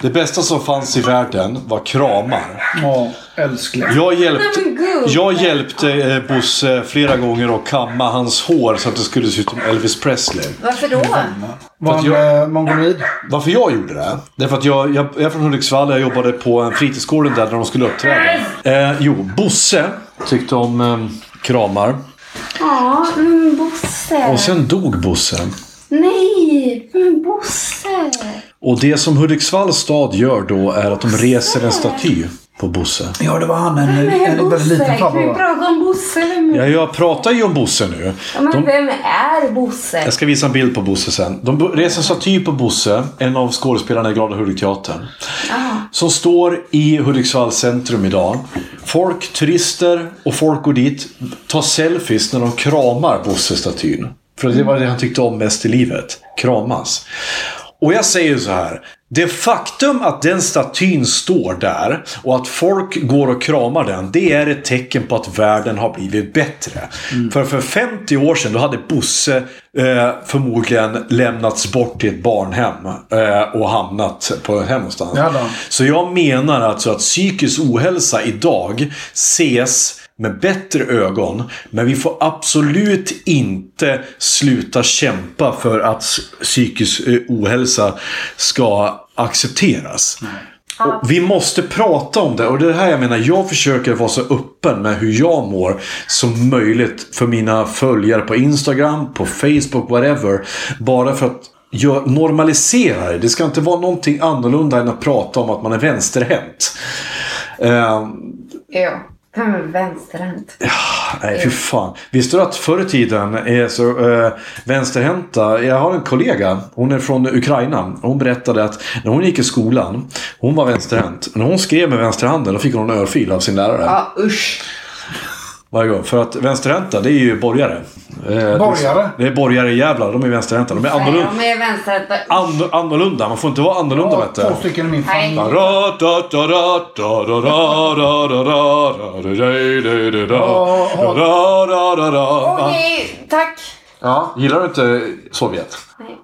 S1: det bästa som fanns i världen var kramar.
S2: Ja, älskling.
S1: Jag hjälpte,
S3: Nej, men gud.
S1: jag hjälpte eh, Bosse flera gånger att kamma hans hår så att det skulle se ut som Elvis Presley.
S3: Varför då?
S2: Var han
S1: För att
S2: eh, mongoloid?
S1: Varför jag gjorde det? Det är för att jag, jag, jag är från Hudiksvall jag jobbade på en fritidsgård där när de skulle uppträda. Eh, jo, Bosse tyckte om eh, kramar.
S3: Ja, men Bosse.
S1: Och sen dog Bosse.
S3: Nej, men Bosse.
S1: Och det som Hudiksvalls stad gör då är att de reser en staty på Bosse.
S2: Ja, det var han. En, en,
S3: Men
S2: väldigt
S3: Bosse,
S2: liten
S3: kan
S2: farbror.
S3: vi
S2: va?
S3: prata om Bosse? Vem,
S1: Ja, jag pratar ju om Bosse nu.
S3: ja, men
S1: De,
S3: vem är Bosse?
S1: jag ska visa en bild på Bosse sen. De bo- reser en staty på Bosse, en av skådespelarna i Glada Hudik-teatern. Som står i Hudiksvalls centrum idag. Folk, turister och folk går dit, tar selfies när de kramar Bosse-statyn. För det var det han tyckte om mest i livet. Kramas. Och jag säger så här. Det faktum att den statyn står där och att folk går och kramar den, det är ett tecken på att världen har blivit bättre.
S2: Mm.
S1: För för 50 år sedan, då hade Bosse eh, förmodligen lämnats bort till ett barnhem eh, och hamnat på ett hem någonstans.
S2: Ja då.
S1: Så jag menar alltså att psykisk ohälsa idag ses med bättre ögon. Men vi får absolut inte sluta kämpa för att s- psykisk eh, ohälsa ska accepteras. Och vi måste prata om det. Och det är det här jag menar. Jag försöker vara så öppen med hur jag mår som möjligt för mina följare på Instagram, på Facebook, whatever. Bara för att jag normalisera det. Det ska inte vara någonting annorlunda än att prata om att man är vänsterhänt. Eh,
S3: Ja. Vem är vänsterhänt?
S1: Nej, fy fan. Visste du att förr i tiden är så eh, vänsterhänta. Jag har en kollega. Hon är från Ukraina. Hon berättade att när hon gick i skolan. Hon var vänsterhänt. När hon skrev med vänsterhanden då fick hon en örfil av sin lärare.
S3: Ja, usch.
S1: Varje gång. För att vänsterhänta det är ju borgare. Eh,
S2: Borgare?
S1: Det är borgare jävlar. De är vänsterhänta. De är annorlunda.
S3: Nej, de är vänsterhänta.
S1: An- annorlunda. Man får inte vara annorlunda vet du.
S2: Två stycken i min familj.
S3: Nej.
S1: Ra, da, da, ra, da, da, ra, da, da, ra, da, da, da, da, da, da. Ra, da, da, ra.
S3: Okej, tack.
S1: Ja, gillar du inte Sovjet?
S3: Nej.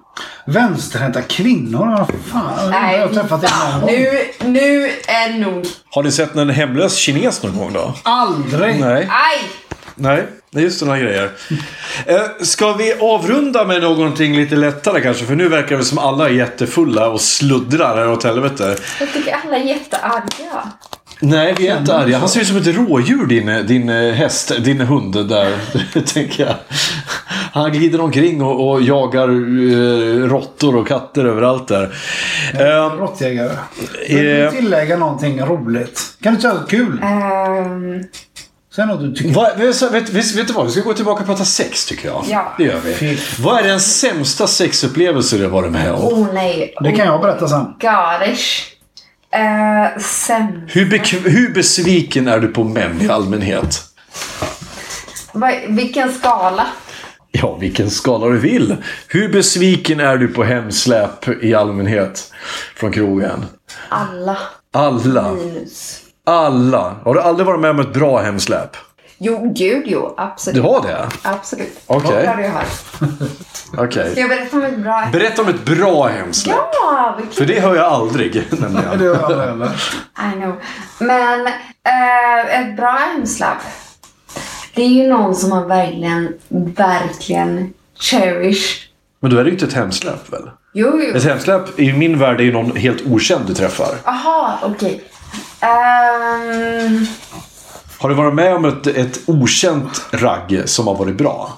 S2: Vänsterhänta kvinnor? Vad fan?
S3: Nej,
S2: jag har träffat det någon gång.
S3: nu, nu är det nog.
S1: Har ni sett en hemlös kines någon gång då?
S2: Aldrig!
S1: Nej.
S3: Aj!
S1: Nej, det är just sådana grejer. Eh, ska vi avrunda med någonting lite lättare kanske? För nu verkar det som alla är jättefulla och sluddrar här åt helvete.
S3: Jag tycker alla är jättearga.
S1: Nej, vi är inte arga. Han ser ut som ett rådjur din, din eh, häst, din hund där. tänker jag. Han glider omkring och, och jagar eh, råttor och katter överallt där. Eh,
S2: Råttjägare. Men vill
S1: Eh.
S2: du tillägga någonting roligt? Kan du inte säga något kul?
S3: Ehm,
S2: Säg något du tycker.
S1: Vad, vet, vet, vet, vet du vad? Vi ska gå tillbaka och prata sex tycker jag.
S3: Ja.
S1: Det gör vi. Vad är den sämsta sexupplevelse du har varit med om?
S3: oh nej.
S2: Det kan jag berätta sen.
S3: Garish. Eh, sen.
S1: Hur, bekv- hur besviken är du på män i allmänhet?
S3: Vad, vilken skala?
S1: Ja, vilken skala du vill. Hur besviken är du på hemsläp i allmänhet från krogen?
S3: Alla.
S1: Alla.
S3: Minus.
S1: Alla. Har du aldrig varit med om ett bra hemsläp?
S3: Jo, gud jo. Absolut.
S1: Du har det?
S3: Absolut.
S1: Okej.
S3: Det har du hört.
S1: Okej.
S3: Ska jag berätta om ett bra...
S1: Berätta om ett bra hemsläp.
S3: Ja, vilken...
S1: För det hör jag aldrig
S2: Det
S1: nämligen.
S2: gör jag aldrig heller.
S3: I know. Men eh, ett bra hemsläpp. Det är ju någon som man verkligen, verkligen cherish.
S1: Men då är det ju inte ett hemsläp väl?
S3: Jo, jo.
S1: Ett hemsläpp i min värld är ju någon helt okänd du träffar.
S3: Aha, okej. Ehm,
S1: Har du varit med om ett, ett okänt ragg som har varit bra?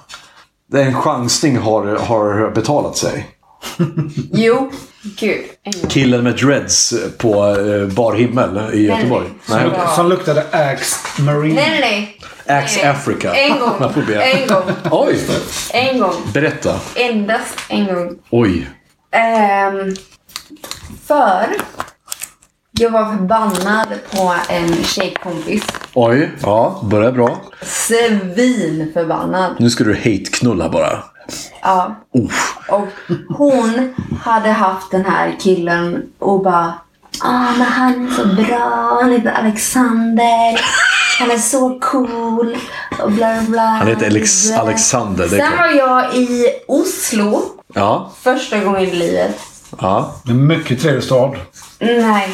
S1: Där En chansning har, har betalat sig.
S3: jo, gud. en gång.
S1: Killen med dreads på eh, bar himmel i Göteborg. Nej.
S3: Bra.
S2: Som luktade Axe Marine.
S3: Nej, nej, nej.
S1: Axe
S3: Nej.
S1: Africa.
S3: En gång.
S1: Man får be.
S3: En gång.
S1: Oj!
S3: En gång.
S1: Berätta.
S3: Endast en gång.
S1: Oj.
S3: Ehm, för jag var förbannad på en tjejkompis.
S1: Oj. Ja, börjar bra.
S3: Svinförbannad.
S1: Nu ska du hate-knulla bara.
S3: Ja.
S1: Uff.
S3: Och hon hade haft den här killen och bara Ah, men han är så bra. Han heter Alexander. Han är så cool. Och bla, bla, bla.
S1: Han heter Alex- Alexander, det är
S3: Sen
S1: klart.
S3: var jag i Oslo
S1: Ja.
S3: första gången i livet.
S1: ja.
S2: Det är en mycket trevlig stad.
S3: Nej,
S2: Nej,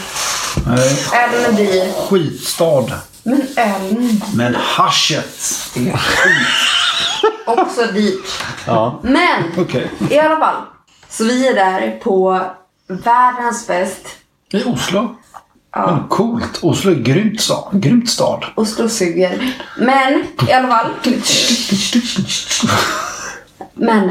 S3: ölen blir.
S2: skitstad.
S3: Men ölen
S2: Men haschet är skit.
S3: också dyrt.
S1: ja.
S3: Men
S2: Okej.
S3: i alla fall. Så vi är där på världens bäst.
S2: I Oslo? Men coolt. Oslo är grymt stad. Grymt stad.
S3: Oslo suger. Men i alla fall. Men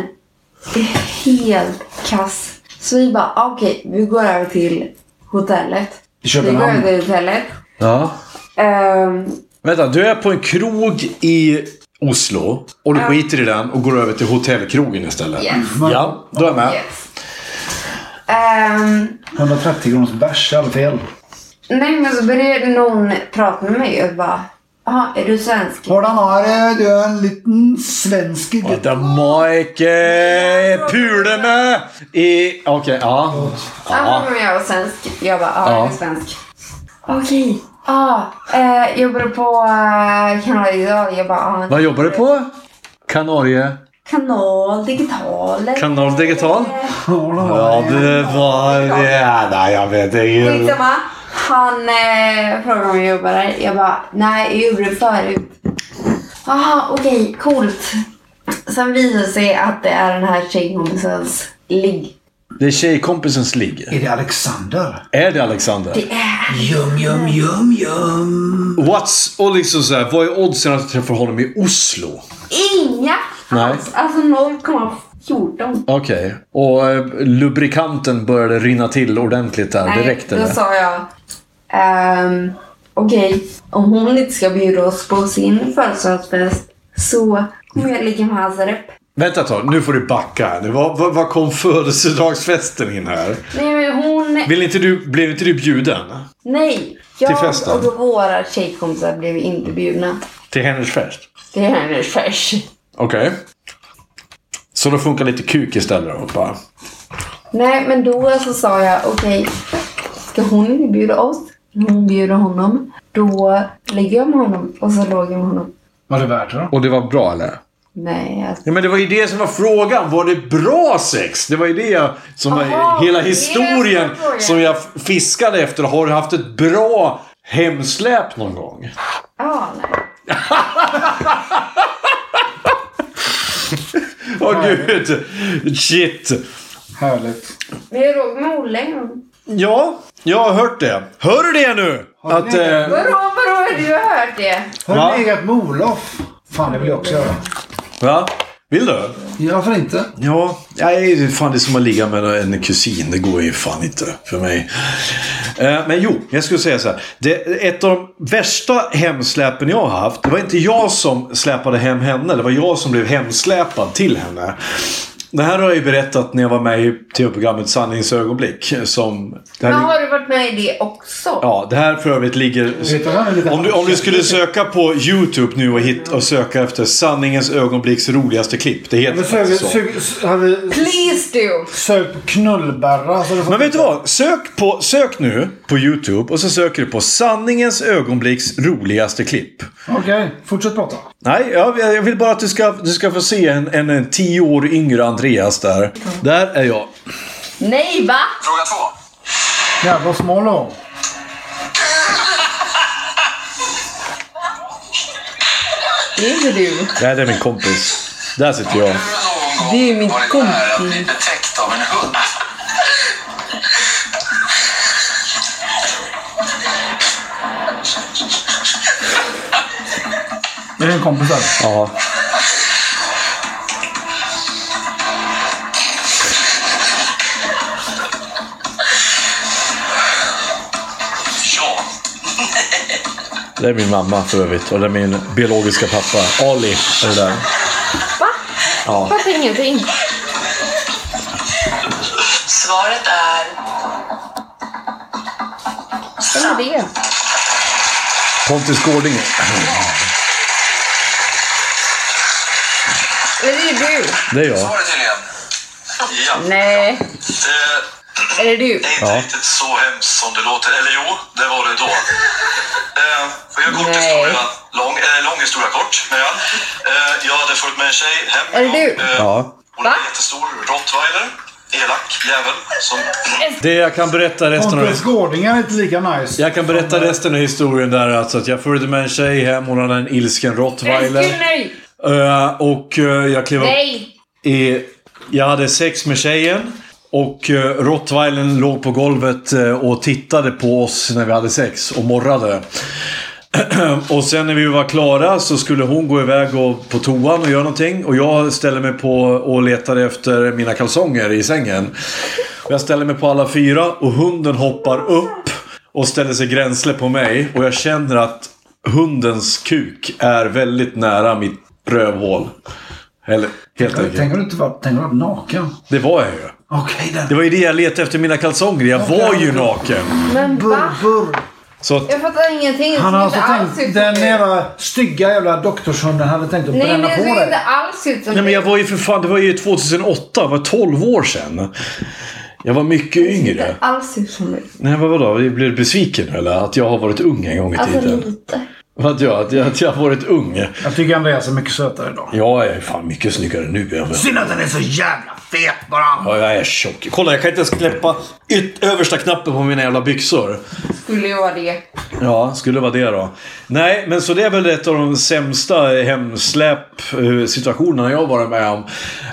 S3: helt kass. Så vi bara, ah, okej, vi går över till hotellet.
S2: I
S3: Vi går
S2: Köpenhamn.
S3: över till hotellet.
S1: ja.
S3: Ehm,
S1: Vänta, du är på en krog i Oslo och du skiter i den och går över till hotellkrogen istället.
S3: Yes.
S1: Ja, då är jag med.
S3: yes. Ehm,
S2: 130 kronors bärs i alla fel.
S3: nej men så började någon prata med mig och bara, jaha, är du svensk?
S2: Hvordan har det? Du är en liten svensk gutt.
S1: Vänta, Mike pule med! I... Okej, ja.
S3: Han frågade om jag var svensk. Jag bara, ja, jag
S1: Ja.
S3: är svensk. Okej. Ja, eh, jobbar du på eh, Kanal Digital? Jag bara, ah,
S1: Vad jobbar du på? Kanarie.
S3: Kanal Digital.
S1: Kanal Digital?
S2: Hvordan har
S1: Ja, det var det. Nej, jag vet inte.
S3: Skitsamma. Liksom, Han eh, frågade om jag jobbar där. Jag bara, nej jag gjorde det förut. Jaha, okej, coolt. Sen visade det sig att det är den här tjejkompisens ligg.
S1: Det är tjejkompisens ligg.
S2: Är det Alexander?
S1: Är det Alexander?
S2: Yum, yum, yum, yum.
S1: What's... Och liksom så här, vad är oddsen att jag träffar honom i Oslo?
S3: Inga
S1: Nej.
S3: alls. Alltså 0,14.
S1: Okej. Och eh, lubrikanten började rinna till ordentligt där.
S3: Nej,
S1: det räckte
S3: då
S1: det.
S3: sa jag. ehm, Okej, om hon inte ska bjuda oss på sin födelsedagsfest så kommer jag ligga med hans rep.
S1: Vänta ett tag, nu får du backa här. nu. Vad, vad, vad kom födelsedagsfesten in här?
S3: Nej, men hon...
S1: Vill inte du, blev inte du bjuden?
S3: Nej!
S1: Till
S3: Jag
S1: festen.
S3: och våra tjejkompisar blev inte bjudna.
S1: Till hennes fest?
S3: Det är hennes fest.
S1: Okej. Så då funkar lite kuk istället då, bara.
S3: Nej, men då så sa jag okej, ska hon inte bjuda oss? Hon bjuder honom. Då lägger jag med honom och så låg jag med honom.
S2: Var det värt det då?
S1: Och det var bra eller?
S3: Nej, alltså.
S1: Ja men det var ju det som var frågan. Var det bra sex? Det var ju det som
S3: Aha,
S1: var hela
S3: det är det som var
S1: historien
S3: frågan.
S1: som jag f- fiskade efter. Har du haft ett bra hemsläp någon gång?
S3: Ja, nej.
S1: Åh gud! Shit!
S2: Härligt.
S3: Men jag låg med Olle.
S1: Ja, jag har hört det. Hör du det nu? Att... Eh,
S3: Vadå, vadå? Du har hört det?
S2: Har
S1: Va?
S2: du legat med Olof? Fan, det vill jag också göra.
S1: va? Vill du?
S2: Ja, varför inte?
S1: Ja, nej, fan det är som att ligga med en kusin. Det går ju fan inte för mig. Eh, Men jo, jag skulle säga så här. Det, ett av de värsta hemsläpen jag har haft. Det var inte jag som släpade hem henne. Det var jag som blev hemsläpad till henne. Det här har jag ju berättat när jag var med i tv-programmet Sanningsögonblick. Som, det här,
S3: Men har du varit med i det också?
S1: ja, det här för övrigt ligger...
S2: Vet du vad han är lite-
S1: Om du, om du skulle söka på YouTube nu och, hit, och söka efter Sanningens ögonblicks roligaste klipp. Det
S2: Har vi
S1: heter
S2: sökt-
S1: faktiskt så.
S2: sökt- Har vi
S3: Please do!
S2: sökt på knullbärra? så du får-
S1: Men vet du vad? Sök, på, sök nu på YouTube och så söker du på sanningens ögonblicks roligaste klipp.
S2: Okej, fortsätt prata.
S1: Nej, jag, jag vill bara att du ska, du ska få se en, en, en tio år yngre Andreas där. Där är jag.
S3: Nej, va?
S5: Fråga två.
S2: Jävlar vad smal du var.
S3: Det är inte du.
S1: Nej, det är min kompis. Där sitter jag.
S5: Någon
S3: Det är
S5: gång
S3: mitt
S5: varit nära att
S3: kompis.
S5: bli betäckt av en hund.
S2: Är det en kompis där?
S1: Ja.
S5: Ja.
S1: Det är min mamma för övrigt. Och det är min biologiska pappa. Ali är det där.
S3: Va?
S1: Ja.
S3: Fattar ingenting.
S5: Svaret är...
S3: Vem är det?
S1: Pontus Gårding.
S3: Är det du?
S1: Det är jag.
S5: Svaret tydligen. Ja.
S3: Nej.
S5: Det
S3: Är det du?
S5: är inte
S1: Ja.
S5: riktigt så hemskt som det låter. Eller jo, det var det då. Eh, Får jag kort
S3: Nej.
S5: historia? Lång, eh, lång historia kort, menar jag. Eh, jag hade följt med en tjej hem.
S3: Är det du?
S5: Eh,
S1: Ja.
S5: Hon är
S3: Va?
S5: en jättestor rottweiler. Elak jävel. Som...
S1: Det jag kan berätta resten av
S2: Pontus Gårding är inte lika nice.
S1: Jag kan berätta resten av historien där. Alltså att jag följde med en tjej hem. Hon hade en ilsken
S3: Älskling,
S1: rottweiler.
S3: nej!
S1: Eh, och eh, jag klev upp
S3: Nej!
S1: i... Jag hade sex med tjejen. Och eh, rottweilern låg på golvet eh, och tittade på oss när vi hade sex och morrade. och sen när vi var klara så skulle hon gå iväg och på toan och göra någonting. Och jag ställde mig på och letade efter mina kalsonger i sängen. Och Jag ställer mig på alla fyra och hunden hoppar upp och ställer sig gränsle på mig. Och jag känner att hundens kuk är väldigt nära mitt rövhål. Eller helt enkelt.
S2: Tänk om du inte var, tänk om du var naken.
S1: Det var jag ju.
S2: Okej
S1: Det
S2: där.
S1: var ju det jag letade efter mina kalsonger. Jag var ju naken.
S3: Men va?
S2: Burr, burr.
S1: Så att,
S3: Jag fattar ingenting. Det
S2: Han
S3: ser
S2: har
S3: inte
S2: alltså
S3: alls ut
S2: tänkt,
S3: som
S2: den
S3: du.
S2: jävla stygga jävla doktorshunden hade tänkt att
S3: Nej, men
S2: bränna på
S3: det ser inte
S2: dig.
S3: alls ut som
S1: nej men jag
S3: dig.
S1: var ju för fan, det var ju 2008. Det var 12 år sedan. Jag var mycket yngre.
S3: Alls ut som dig.
S1: Nej, vad vadå? Blir du besviken eller? Att jag har varit ung en gång i
S3: Alltså
S1: tiden?
S3: lite.
S1: Att jag, att jag, att jag har varit ung.
S2: Jag tycker Andreas är mycket sötare idag.
S1: Jag är fan mycket snyggare nu. Jag,
S2: Synd att den är så jävla fet bara.
S1: ja, jag är tjock. Kolla, jag kan inte ens släppa yt- översta knappen på mina jävla byxor.
S3: Skulle ju vara det.
S1: Ja, skulle vara det då. Nej, men så det är väl ett av de sämsta hemsläpp-situationerna jag har varit med om.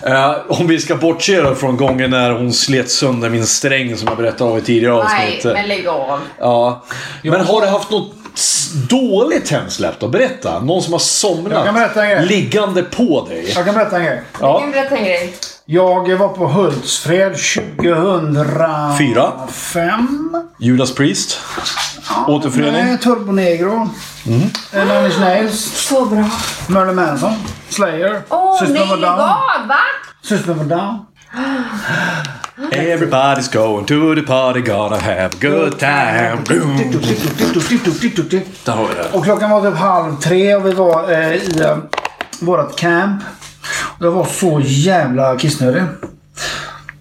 S1: Eh, om vi ska bortse då från gången när hon slet sönder min sträng som jag berättade om i tidigare
S3: Nej,
S1: avsnitt.
S3: men lägg av.
S1: Ja. Men har du haft något s- dåligt hemsläpp då? Berätta. Någon som har
S2: Jag kan berätta en
S1: somnat
S2: grej.
S1: liggande på dig.
S2: Jag kan berätta en grej.
S3: Jag
S1: Ja.
S3: kan berätta en grej.
S2: Jag var på Hultsfred 2005.
S1: Fyra. Judas Priest. Återförening.
S2: Nej, Turbo Negro. Mm. Nine Nails.
S3: Så bra.
S2: Merlin Manson. Slayer.
S3: Åh
S2: System
S3: nej,
S2: of a
S3: lägg
S2: Down.
S3: av! Va?
S2: System of a Down.
S1: Everybody's going to the party, gonna have a good time. Boom. Där har vi det.
S2: Och klockan var typ halv tre och vi var eh, i eh, vårat camp. Och jag var så jävla kissnödig.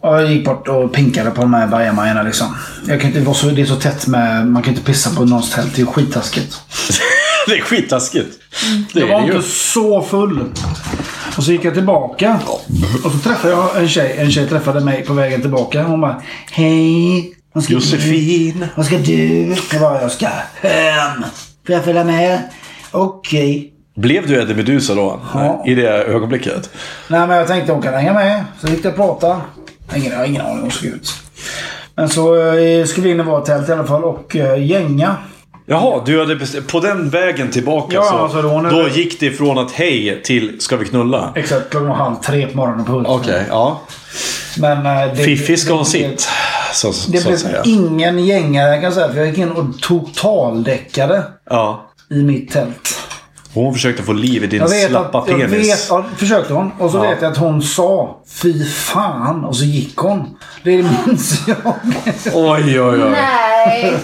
S2: Och jag gick bort och pinkade på de här bajamajorna liksom. Jag kan inte, det, var så, det är så tätt med... Man kan inte pissa på någons tält. Det är skittaskigt.
S1: Det är skittaskigt. Det
S2: Jag var
S1: är det
S2: inte
S1: ju.
S2: så full. Och så gick jag tillbaka. Och så träffade jag en tjej. En tjej träffade mig på vägen tillbaka. Hon bara Hej! Vad ska
S1: Josefin.
S2: Du? Vad ska du? Jag bara, jag ska hem. Får jag följa med? Okej.
S1: Blev du Eddie Meduza då?
S2: Ja.
S1: I det ögonblicket?
S2: Nej men jag tänkte hon kan hänga med. Så gick det och pratade. Ingen, jag har ingen aning om hon såg ut. Men så eh, skulle vi in i vårt tält i alla fall och eh, gänga.
S1: Jaha, du hade bestämt, på den vägen tillbaka
S2: Ja,
S1: så
S2: alltså, då när-
S1: då gick det ifrån att hej till ska vi knulla?
S2: Exakt klockan var halv tre på morgonen på Hultsfred.
S1: Okej, ja.
S2: Men eh, det-
S1: Fiffi ska ha
S2: det-
S1: sitt. Så,
S2: Det
S1: så att
S2: blev
S1: säga.
S2: ingen gängare kan jag säga. För jag gick in och totaldäckade
S1: Ja.
S2: i mitt tält.
S1: Hon försökte få liv i din
S2: Jag vet
S1: slappa
S2: att, jag
S1: penis.
S2: vet, ja, försökte hon. Och så
S1: Ja.
S2: vet jag att hon sa Fy fan. Och så gick hon. Det minns jag.
S1: Oj, oj, oj.
S3: Nej.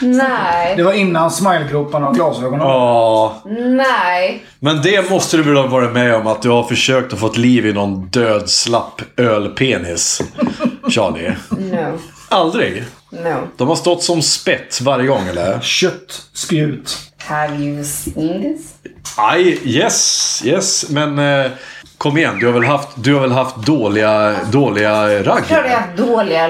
S2: Det
S3: nej.
S2: var innan smilegroparna och glasögonen.
S1: Ja,
S3: Nej.
S1: men det måste du väl ha varit med om att du har försökt att få ett liv i någon död slapp ölpenis. Charlie.
S3: No.
S1: Aldrig?
S3: No.
S1: De har stått som spett varje gång eller?
S2: Kött, spjut.
S3: Have you seen this?
S1: Aj, yes, yes. Men eh, kom igen, du har väl haft, du har väl haft dåliga, dåliga ragg?
S3: Klart jag har haft dåliga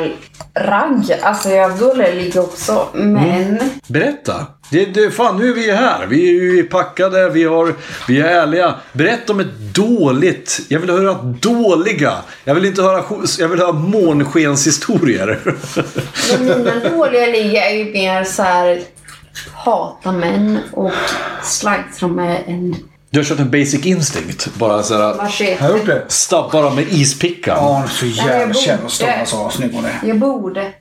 S3: ragg. Alltså jag har haft dåliga ligg också. Men
S2: Mm.
S1: Berätta. Det, det, fan, nu är vi här. Vi är ju packade, vi, har, vi är ärliga. Berätta om ett dåligt. Jag vill höra dåliga. Jag vill inte höra, sjo- jag vill höra månskenshistorier.
S3: men mina dåliga ligg är ju mer så här hata män och slagtro med en
S1: Du har kört en basic instinct. Bara såhär,
S2: Har
S3: machete.
S2: jag gjort det?
S1: stabbar dem med ispickan.
S2: Ja, hon är så
S3: jag
S2: jävla
S3: borde.
S2: kär och stor. Alltså, vad snygg hon är.
S3: Jag borde.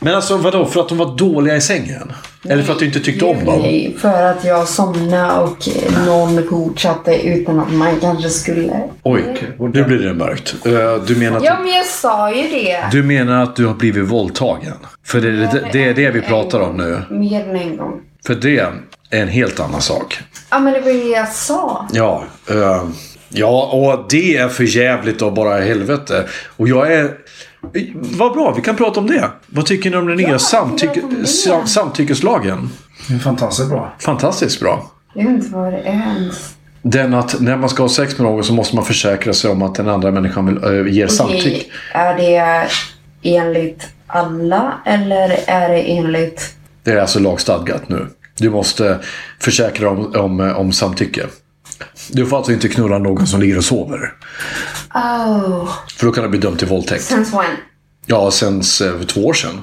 S1: Men alltså vadå? För att de var dåliga i sängen? Eller för att du inte tyckte om dem?
S3: Nej, för att jag somnade och eh, någon fortsatte utan att man kanske skulle.
S1: Oj, nu blir det mörkt. Eh, Du menar att
S3: Ja, men jag sa ju det.
S1: Du menar att du har blivit våldtagen? För det, det, det är det vi pratar om nu.
S3: Mer än en gång.
S1: För det är en helt annan sak.
S3: Ja, men det var ju det jag sa.
S1: Ja, eh, ja och det är för jävligt och bara helvete. Och jag är... Vad bra, vi kan prata om det. Vad tycker ni om den nya
S3: vi kan
S1: samtyck-
S3: prata om det.
S1: sam- samtyckeslagen?
S2: Det är fantastiskt bra.
S1: Fantastiskt bra.
S3: Jag vet inte vad det är ens.
S1: Den att när man ska ha sex med någon så måste man försäkra sig om att den andra människan vill, eh, ger samtycke.
S3: Okej, Är det enligt alla eller är det enligt...
S1: Det är alltså lagstadgat nu. Du måste försäkra om, om, om samtycke. Du får alltså inte knulla någon som ligger och sover.
S3: Oh,
S1: För då kan du bli dömd till våldtäkt.
S3: since when?
S1: Ja, sen s- för två år sedan.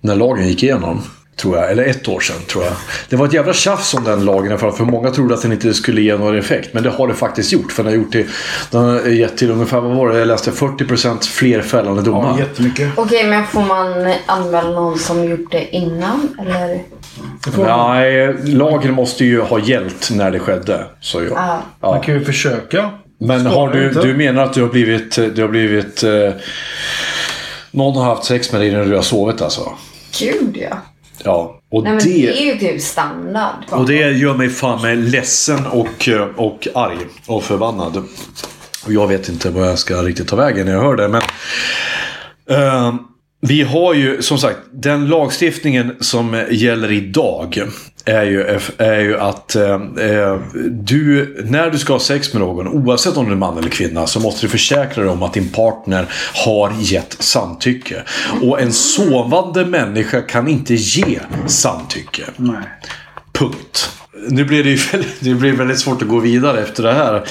S1: När lagen gick igenom. Tror jag. Eller ett år sedan, tror jag. Det var ett jävla tjafs om den lagen. För för många trodde att den inte skulle ge någon effekt. Men det har det faktiskt gjort. För den har, gjort till, den har gett till ungefär, vad var det? Jag läste 40% fler fällande domar.
S2: Jättemycket.
S3: Okej, men får man anmäla någon som gjort det innan? Eller?
S2: Det får man.
S1: Nej, lagen måste ju ha gällt när det skedde. Så jag.
S3: Ja.
S2: man kan ju försöka.
S1: Men
S2: Skadar
S1: har
S2: det
S1: du,
S2: inte.
S1: du menar att du har blivit... Du har blivit eh, någon har haft sex med dig när du har sovit alltså?
S3: Gud, ja.
S1: Ja. Och,
S3: Nej, men det...
S1: det,
S3: är ju typ standard.
S1: och det gör mig fan mig ledsen och, eh, och arg och förbannad. Och jag vet inte vad jag ska riktigt ta vägen när jag hör det. Men, eh, vi har ju som sagt den lagstiftningen som gäller idag. är ju, är ju att eh, eh, du, när du ska ha sex med någon, oavsett om du är man eller kvinna, så måste du försäkra dig om att din partner har gett samtycke. Och en sovande människa kan inte ge samtycke.
S2: Nej.
S1: Punkt. Nu blir det ju väldigt, det blir väldigt svårt att gå vidare efter det här.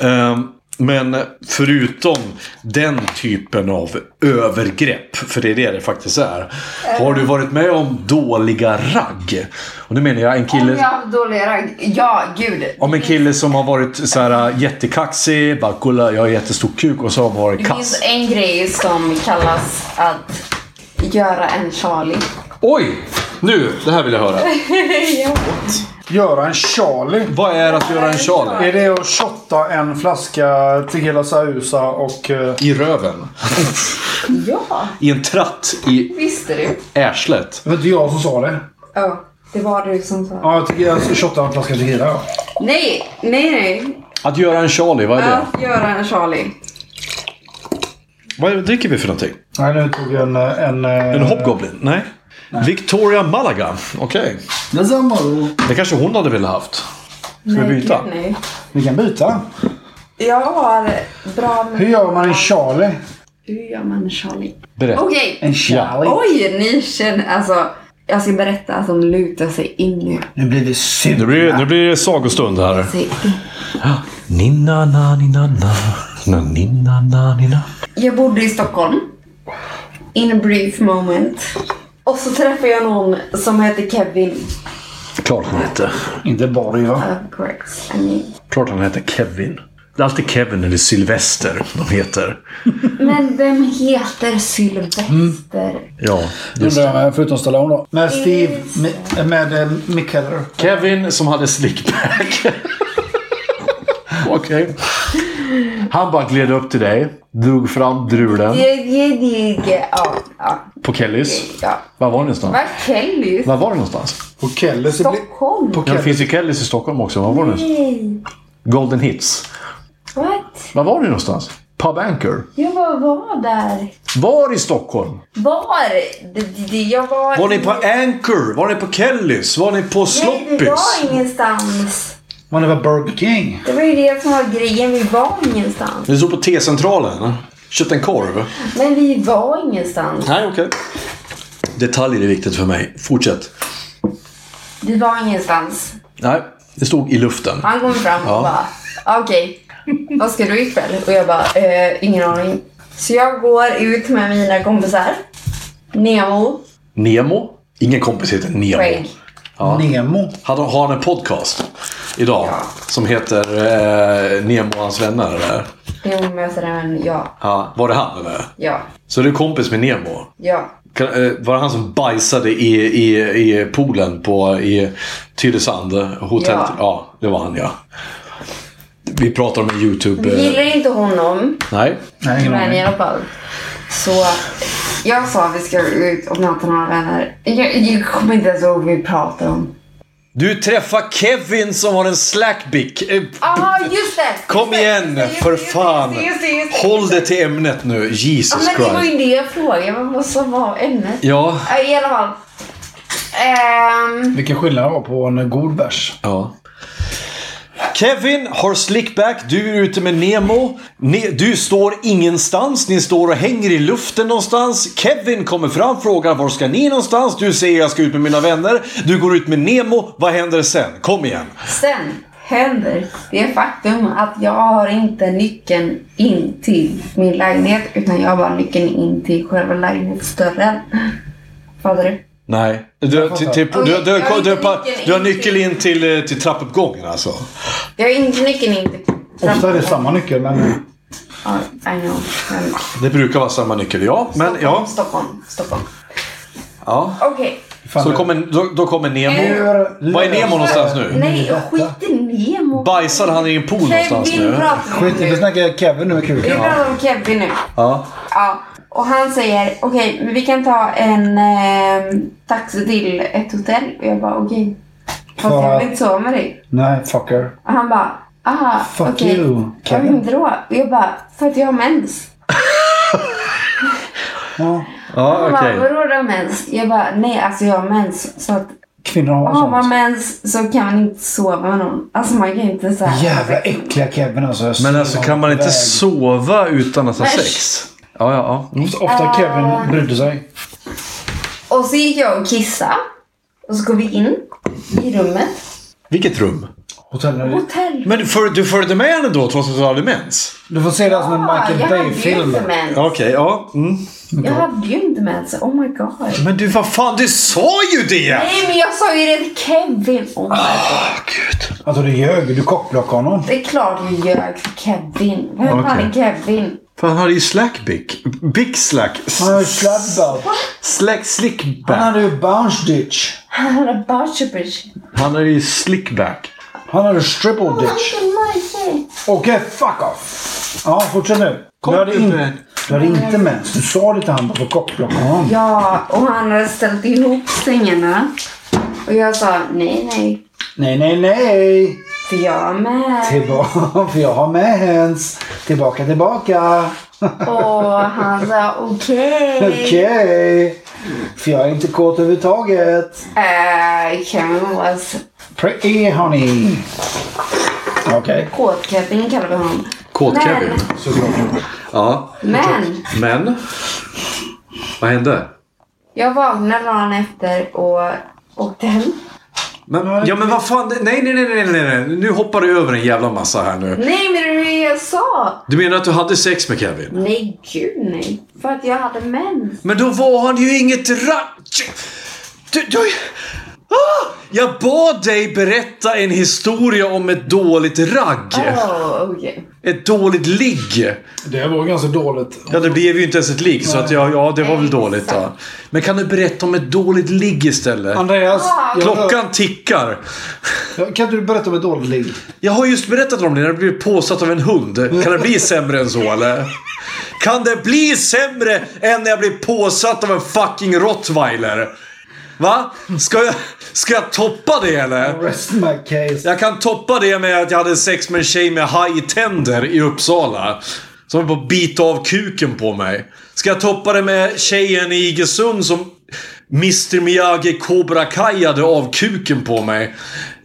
S1: Ehm, Men förutom den typen av övergrepp, för det är det det faktiskt är. Har du varit med om dåliga ragg? Och nu menar jag en
S3: Om jag
S1: kille,
S3: har haft dåliga ragg? Ja, gud.
S1: om en kille som har varit så här äh, jättekaxig, bara kolla jag har jättestor kuk och så har han varit
S3: Det finns
S1: kass.
S3: en grej som kallas att göra en Charlie.
S1: Oj! Nu, det här vill jag höra.
S2: Göra en Charlie.
S1: Vad är att göra en Charlie?
S2: Är det att shotta en flaska Tequila Sausa och... eh,
S1: I röven.
S3: Ja,
S1: I en tratt i
S3: visste du?
S1: ärslet.
S2: Det var inte jag som sa det.
S3: Ja, det var du som sa.
S2: Ja, jag tycker jag ska shotta en flaska Tequila. Ja.
S3: Nej, nej, nej.
S1: Att göra en Charlie, vad är det?
S3: Att göra en Charlie.
S1: Vad dricker vi för någonting?
S2: Nej, nu tog jag en... eh, En,
S1: En hobgoblin? Nej. Victoria Malaga. Okej.
S2: Detsamma då.
S1: Det kanske hon hade velat haft. Ska vi byta?
S3: gud, nej.
S2: Vi kan byta.
S3: Jag har bra... med-
S2: Hur gör man en Charlie?
S3: Hur gör man en Charlie?
S1: Berätta.
S3: Okej.
S2: En Charlie.
S3: Oj, ni känner... Alltså, jag ska berätta som lutar sig in nu.
S2: Nu blir vi
S1: Nu
S2: sura.
S1: blir, nu blir det sagostund här.
S3: Sig in.
S1: Ninna na ninna na. Na ninna na ninna.
S3: Jag bodde i Stockholm. In a brief moment. Och så träffade jag någon som hette Kevin.
S1: Klart han hette.
S2: Inte bara jag.
S3: Uh, correct, I mean.
S1: Klart han hette Kevin. Det är alltid Kevin eller Sylvester de heter.
S3: Men vem heter Sylvester?
S1: Ja, just det.
S2: Undrar jag, Förutom Stallone då.
S3: Eh.
S2: Med Steve. Med, med eh, Mick Keller.
S1: Kevin som hade slickback. Okej. Han bara gled upp till dig, drog fram drulen
S3: Det- det- det- det- Ja, ja,
S1: på Kellys.
S3: ja.
S1: Var var det någonstans?
S3: Vad Kelly?
S1: Var var det någonstans?
S2: Och Keller. så blir-
S3: Stockholm?
S1: Ja,
S2: På
S1: det
S2: Keller.
S1: finns ju Kellys i Stockholm också. Var var det? någonstans?
S3: Nej.
S1: Golden Hits.
S3: What?
S1: Var var det någonstans? Pub Anchor.
S3: Jag bara var där.
S1: Var i Stockholm?
S3: Var? Det- det- Jag var...
S1: Var ni på Anchor? Var ni på Kellys? Var ni på
S3: Nej, vi
S1: Sloppis?
S3: var ingenstans.
S2: Man är väl Burger King?
S3: Det var ju det som var grejen. Vi var ingenstans.
S1: Ni stod på T-centralen? Köpte en korv?
S3: Men vi var ingenstans.
S1: Nej, okej. Detaljer är viktigt för mig. Fortsätt.
S3: Vi var ingenstans.
S1: Nej, det stod i luften.
S3: Han kom fram och
S1: Ja.
S3: bara, "Ah, okej, vad ska du ikväll? Och jag bara, eh, ingen aning. Så jag går ut med mina kompisar. Nemo,
S1: Nemo? Ingen kompis heter Nemo.
S3: Craig.
S2: Nemo.
S1: Hade- Har han en podcast idag
S3: Ja.
S1: som heter eh, Nemo och hans vänner? Eller?
S3: Nemo möter en, ja,
S1: Ja, var det han eller?
S3: ja,
S1: Så du är kompis med Nemo?
S3: ja.
S1: Kan- eh, Var det han som bajsade i, i, i poolen på, i Tylösand hotell?
S3: Ja.
S1: Ja. det var han ja. Vi pratar om en YouTube...
S3: Vi
S1: eh,
S3: gillar inte honom,
S1: Nej.
S2: Nej, ingen
S3: men i
S2: aning.
S3: alla fall. Så jag sa vi ska ut och möta några vänner. Jag, jag kommer inte ens ihåg vad vi pratade om.
S1: Du träffar Kevin som har en slackbick. Eh,
S3: Ah, just det!
S1: Kom
S3: Just det,
S1: igen
S3: just det,
S1: för
S3: just det,
S1: fan.
S3: just det, just det.
S1: Håll dig till ämnet nu.
S3: Ja,
S1: Jesus
S3: men det var
S1: Christ.
S3: ju det jag frågade, Vad- vad som var ämnet.
S1: Ja.
S3: Ja, I alla fall. Ehm,
S2: Vilken skillnad det var på en god bärs.
S1: ja. Kevin har slickback, du är ute med Nemo. Ni, du står ingenstans, ni står och hänger i luften någonstans. Kevin kommer fram, frågar var ska ni någonstans? Du säger jag ska ut med mina vänner. Du går ut med Nemo, vad händer sen? Kom igen.
S3: sen händer det faktum att jag har inte nyckeln in till min lägenhet utan jag har bara nyckeln in till själva lägenhetsdörren. Fattar du?
S1: Nej. Du, till, till, du, du,
S3: Okej, jag har
S1: du,
S3: inte
S1: du, pa-
S3: nyckeln
S1: du har
S3: in
S1: nyckel in till, eh, till trappuppgången alltså.
S3: Jag har inte nyckeln in till
S2: Ofta är det samma nyckel, men...
S3: Ja, I know. Men,
S1: Det brukar vara samma nyckel, ja. Men ja.
S3: Stockholm, Stockholm.
S1: ja.
S3: Okej.
S2: Fan,
S1: Så då
S2: det-
S1: kommer, då, då kommer Nemo.
S2: Hur
S1: Var är Nemo någonstans nu?
S3: Nej, skit i Nemo.
S1: Bajsar han i en pool någonstans
S3: Kevin
S1: nu?
S3: pratar
S2: Skit i, vi
S3: nu.
S2: snackar Kevin nu med
S3: Vi
S2: kuken.
S3: pratar om Kevin nu.
S1: Ja.
S3: Ja, och han säger okej, men vi kan ta en eh, taxi till ett hotell. Och jag bara okej. Fast jag
S2: Bara-
S3: vill inte sova med dig.
S2: Nej, fucker.
S3: Och han bara, aha,
S2: Fuck
S3: okej.
S2: you,
S3: Jag
S2: Kevin.
S3: vet inte då. Och jag bara, för att jag har mens.
S2: Ja.
S1: Ja,
S3: Han
S1: okej.
S3: bara, vadå du har mens? Jag bara, nej alltså jag har mens. Så att
S2: kvinnor har
S3: Har man
S2: sånt.
S3: mens så kan man inte sova med någon. Alltså man kan inte såhär...
S2: Jävla äckliga Kevin alltså. Jag
S1: Men
S2: ser
S1: alltså
S2: honom
S1: kan man
S2: på
S1: inte
S2: väg.
S1: sova utan att ha
S3: Nej.
S1: sex? Ja, ja, ja.
S2: Ofta Kevin brydde sig.
S3: Och så gick jag och kissade. Och så går vi in i rummet.
S1: Vilket rum?
S2: Hotellet.
S3: Hotell.
S1: Men du föl- du följde med henne då trots att du hade mens?
S2: Du får se det här som en Michael
S3: jag hade ju
S2: Bay-film.
S3: inte mens.
S1: Okej, ja. Mm.
S3: Jag hade ju inte mens. Oh my god.
S1: Men du, vad fan, du sa ju det!
S3: Nej men jag sa ju det till Kevin. Oh my god.
S1: Åh, Ah, gud.
S2: Alltså du ljög. Du kockblockade honom.
S3: Det är klart jag ljög för Kevin. Vem fan är
S1: Okej.
S3: Kevin?
S1: För han hade ju slackbick. Big slack. S-
S2: Han har ju sladdar.
S1: Slack,
S2: Han
S1: slickback.
S2: hade ju bounce ditch.
S3: Han hade bartshopers.
S1: Han hade ju slickback.
S2: Han hade triple ditch. Okej, fuck off. Ja, fortsätt nu. Du hade, in, du hade inte mens. Du sa det till honom för kockblocka honom.
S3: Ja, och han hade ställt ihop sängarna. Och jag sa nej, nej.
S2: Nej, nej, nej.
S3: För jag är med.
S2: Tillbaka, för jag har mens. Tillbaka, tillbaka.
S3: Och han sa okej.
S2: Okej. För jag är inte kåt överhuvudtaget.
S3: Eh, Kevin was
S2: Pretty honey. Okej.
S3: kåt-Kevin kallar vi honom.
S1: Kåt-Kevin.
S3: Men-
S2: Såklart.
S1: Ja.
S3: Men
S1: Men? Vad hände?
S3: jag vaknade dagen efter och åkte hem.
S1: Men, ja men vad fan, det- nej nej nej nej nej nej. Nu hoppar du över en jävla massa här nu.
S3: Nej, men det är det jag sa.
S1: Du menar att du hade sex med Kevin?
S3: Nej, gud nej. För att jag hade mens.
S1: Men då var han ju inget ra... Du, du... Ah! Jag bad dig berätta en historia om ett dåligt ragg.
S3: Åh, okej.
S1: Ett dåligt ligg.
S2: Det var ganska dåligt.
S1: Ja, det blev ju inte ens ett ligg så att ja, ja det var väl dåligt då. Men kan du berätta om ett dåligt ligg istället?
S2: Andreas, jag
S1: Klockan tickar.
S2: Hör, kan inte du berätta om ett dåligt liv?
S1: Jag har just berättat om det när du blev påsatt av en hund. Kan det bli sämre än så eller? Kan det bli sämre än när jag blev påsatt av en fucking rottweiler? Va? Ska jag, ska jag toppa det eller?
S2: Rest my case.
S1: Jag kan toppa det med att jag hade sex med en tjej med hajtänder i Uppsala. Som höll på att bita av kuken på mig. Ska jag toppa det med tjejen i Iggesund som Mr Miyagi Cobra Kaiade av kuken på mig.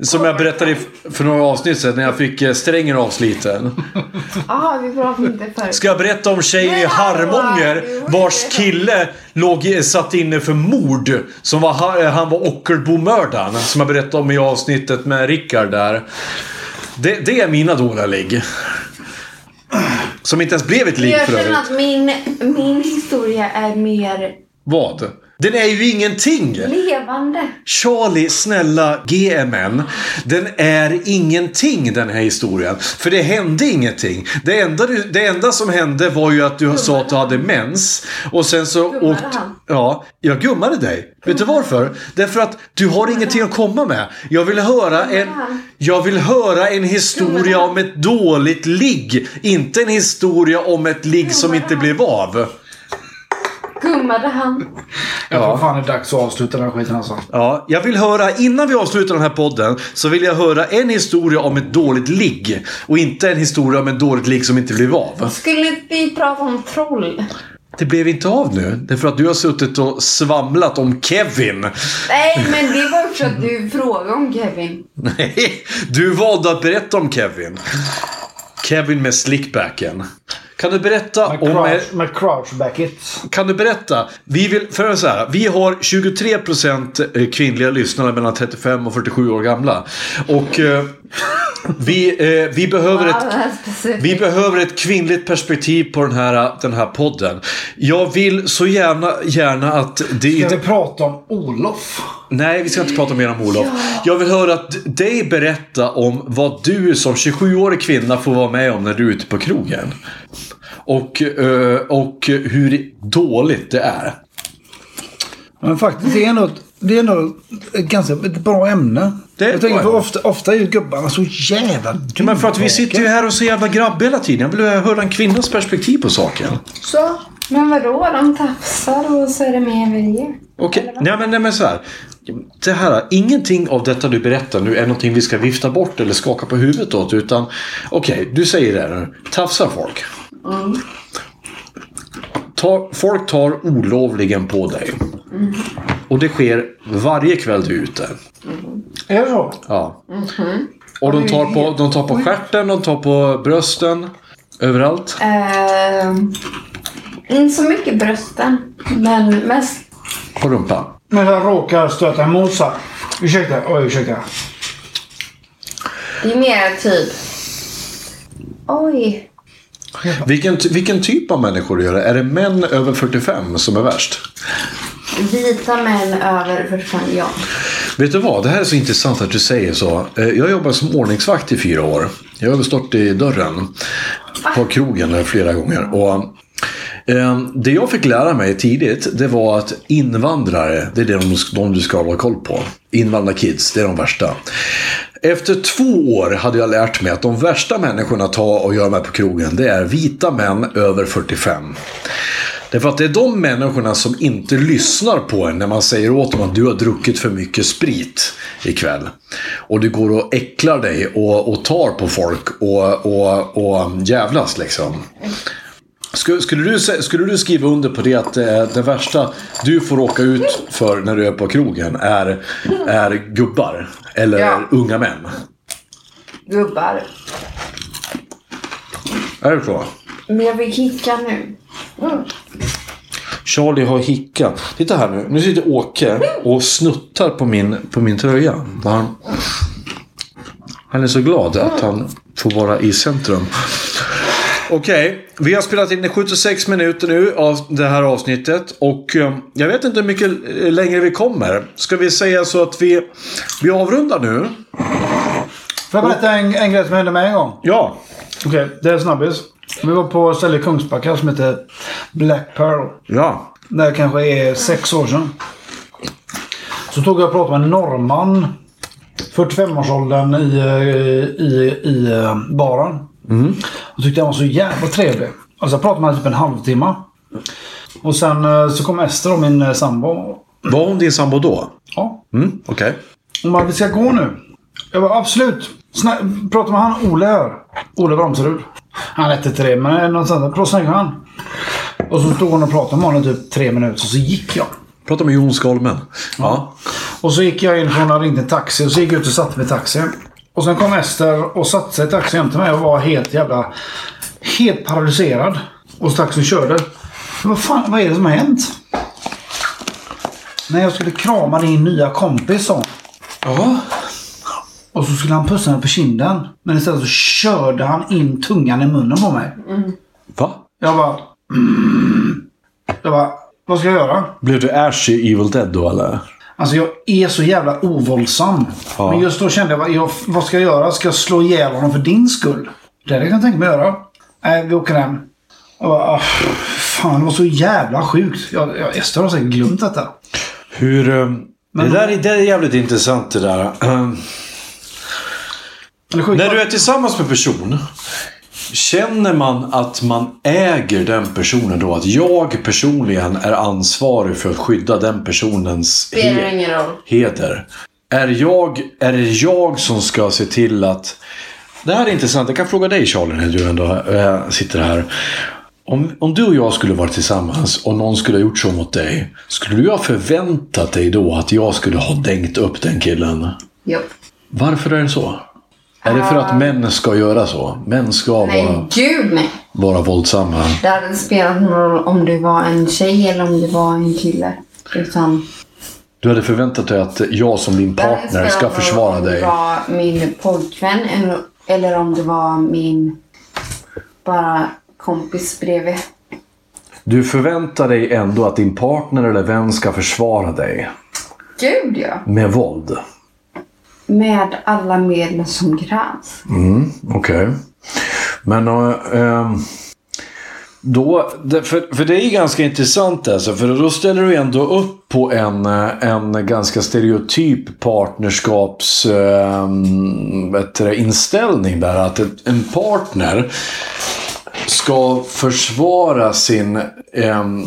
S1: Som jag berättade i f- för några avsnitt sedan när jag fick eh, strängen avsliten.
S3: Ah, vi pratade inte förut.
S1: Ska jag berätta om tjejen i Harmånger vars kille låg i- satt inne för mord? Som var, ha- eh, han var Ockelbo-mördaren. Som jag berättade om i avsnittet med Rickard där. Det, det är mina dåliga ligg. Som inte ens blev ett ligg
S3: Jag
S1: för
S3: känner
S1: övrigt.
S3: att min, min historia är mer
S1: Vad? Den är ju ingenting!
S3: levande.
S1: Charlie, snälla GMN. Den är ingenting den här historien. För det hände ingenting. Det enda, du, det enda som hände var ju att du sa att du hade mens. Och sen så
S3: Gummade
S1: åkte...
S3: han?
S1: Ja, jag gummade dig. Vet du varför? Därför att du har ingenting att komma med. Jag vill höra en,
S3: han?
S1: jag vill höra en historia om ett dåligt ligg. Inte en historia om ett ligg som inte blev av.
S3: Gummade han?
S2: Jag tror fan det är dags att avsluta den här skiten alltså.
S1: Ja, jag vill höra, innan vi avslutar den här podden, så vill jag höra en historia om ett dåligt ligg. Och inte en historia om ett dåligt ligg som inte blev av.
S3: Skulle inte vi prata om troll?
S1: Det blev inte av nu, därför att du har suttit och svamlat om Kevin.
S3: Nej, men det var också att du frågade om Kevin.
S1: Nej, du valde att berätta om Kevin. Kevin med slickbacken. Kan du berätta
S2: Med
S1: om... er-
S2: crouch, med crouch back it.
S1: Kan du berätta? Vi, vill, för så här, vi har 23% kvinnliga lyssnare mellan 35 och 47 år gamla. Och eh, vi, eh, vi behöver
S3: Ja,
S1: ett...
S3: det här är specifikt.
S1: Vi behöver ett kvinnligt perspektiv på den här, den här podden. Jag vill så gärna, gärna att det
S2: Ska
S1: inte...
S2: vi prata om Olof?
S1: Nej, vi ska inte prata mer om Olof. Jag vill höra att dig berätta om vad du som 27-årig kvinna får vara med om när du är ute på krogen. Och, eh, och hur dåligt det är.
S2: Men faktiskt, det är nog, det är nog ett ganska ett bra ämne.
S1: Det är
S2: jag
S1: ett
S2: tänker
S1: bra
S2: för
S1: ämne.
S2: ofta, ofta är ju gubbarna så jävla
S1: Ja, men för att vi sitter ju här och så jävla grabb hela tiden. Jag vill höra en kvinnas perspektiv på saken.
S3: Så? Men vadå, de tafsar och så är det mer med det.
S1: Okej, nej men, nej men så här. Det här, ingenting av detta du berättar nu är någonting vi ska vifta bort eller skaka på huvudet åt. Utan okej, du säger det här nu. Tafsar folk. Tar, folk tar olovligen på dig. Och det sker varje kväll du är ute.
S2: Är det så?
S1: Ja. Och de tar, på, de tar på stjärten, de tar på brösten. Överallt.
S3: Ehm, inte så mycket brösten, men mest
S1: På rumpan.
S2: Men jag råkar stöta emot så här. Ursäkta, oj ursäkta.
S3: Det är mer typ... Oj.
S1: Vilken, ty- vilken typ av människor gör det? Är det män över 45 som är värst?
S3: Vita män över 45, ja.
S1: Vet du vad? Det här är så intressant att du säger så. Eh, Jag jobbade som ordningsvakt i fyra år. Jag har stått i dörren på krogen där flera gånger. Och eh, det jag fick lära mig tidigt, det var att invandrare, det är det de, de du ska hålla koll på. Invandrarkids, det är de värsta. Efter två år hade jag lärt mig att de värsta människorna att ta och göra med på krogen, det är vita män över 45. Därför att det är de människorna som inte lyssnar på en när man säger åt dem att du har druckit för mycket sprit ikväll. Och du går och äcklar dig och, och tar på folk och, och, och jävlas liksom. Skulle, skulle, du, sä- skulle du skriva under på det att eh, det värsta du får åka ut för när du är på krogen är, är gubbar? Eller
S3: Ja.
S1: unga män?
S3: Gubbar.
S1: Är det så?
S3: Men jag vill kicka nu.
S1: Charlie har hicka. Titta här nu. Nu sitter Åke och snuttar på min, på min tröja. Han, han är så glad att han får vara i centrum. Okej, vi har spelat in i 76 minuter nu av det här avsnittet. Och eh, jag vet inte hur mycket eh, längre vi kommer. Ska vi säga så att vi, vi avrundar nu?
S2: Får jag berätta en, en grej som hände mig en gång?
S1: Ja.
S2: Okej, det är en snabbis. Vi var på ett ställe i Kungsbacka som heter Black Pearl.
S1: Ja.
S2: Det här kanske är sex år sedan. Så tog jag och pratade med en norrman. 45-årsåldern i, eh, i, i eh, baren. Jag tyckte han var så jävla trevlig. Alltså jag pratade med honom typ en halvtimme. Och sen eh, så kom Ester och min eh, sambo.
S1: Var hon din sambo då?
S2: Ja,
S1: Mm, okej.
S2: hon bara, vi ska gå nu. Jag bara, absolut. Sna- prata med han Ole här. Ole Bromserud. Han hette inte det, men någonstans där. Prata snackade med han. Och så stod hon och pratade med honom i typ tre minuter, och så gick jag.
S1: Prata med Jon Skolmen. Ja.
S2: Och så gick jag in från och ringde en taxi och så gick jag ut och satte mig i taxin. Och sen kom Ester och satte sig i taxin jämte mig och var helt jävla... Helt paralyserad. Och så taxin körde. Men vad fan, vad är det som har hänt? När jag skulle krama din nya kompis sa hon.
S1: Ja.
S2: Och så skulle han pussa mig på kinden. Men istället så körde han in tungan i munnen på mig.
S1: Va?
S2: Jag bara... "Mm." Jag bara, vad ska jag göra?
S1: Blev du Ash i Evil Dead då eller?
S2: Alltså jag är så jävla ovåldsam.
S1: Ja.
S2: Men just då kände jag, vad- jag, vad ska jag göra? Ska jag slå ihjäl honom för din skull? Det hade jag kunnat tänka mig att göra. Nej, vi åker hem. Jag bara, "Ah, fan det var så jävla sjukt. Jag, jag, Ester har säkert glömt detta.
S1: Hur... eh, det,
S2: Men-
S1: där, är- det är jävligt intressant det där. Ehm,
S2: Eller sjukt.
S1: När du är tillsammans med en person, känner man att man äger den personen då? Att jag personligen är ansvarig för att skydda den personens
S3: Spelar
S1: he-
S3: ingen roll.
S1: heder? Är, jag, är det jag som ska se till att... Det här är intressant. Jag kan fråga dig Charlie när du ändå eh, sitter här. Om, om du och jag skulle vara tillsammans och någon skulle ha gjort så mot dig. Skulle du ha förväntat dig då att jag skulle ha dängt upp den killen?
S3: Jo.
S1: Varför är det så? Är det för att män ska göra så? Män ska
S3: Nej,
S1: vara,
S3: gud nej.
S1: vara våldsamma.
S3: Det hade inte spelat någon roll om du var en tjej eller om du var en kille. Utan
S1: Du hade förväntat dig att jag som din
S3: det hade
S1: partner
S3: inte spelat
S1: ska
S3: någon roll
S1: försvara
S3: om
S1: dig.
S3: du var min pojkvän eller- eller om du var min bara kompis bredvid.
S1: Du förväntar dig ändå att din partner eller vän ska försvara dig.
S3: Gud ja.
S1: Med våld.
S3: Med alla medel som krävs.
S1: Okej. Men eh, ehm, då, det- för, för det är ju ganska intressant alltså, för då ställer du ändå upp på en, eh, en ganska stereotyp partnerskaps eh, vet du det, inställning där. Att ett- en partner ska försvara sin, ehm,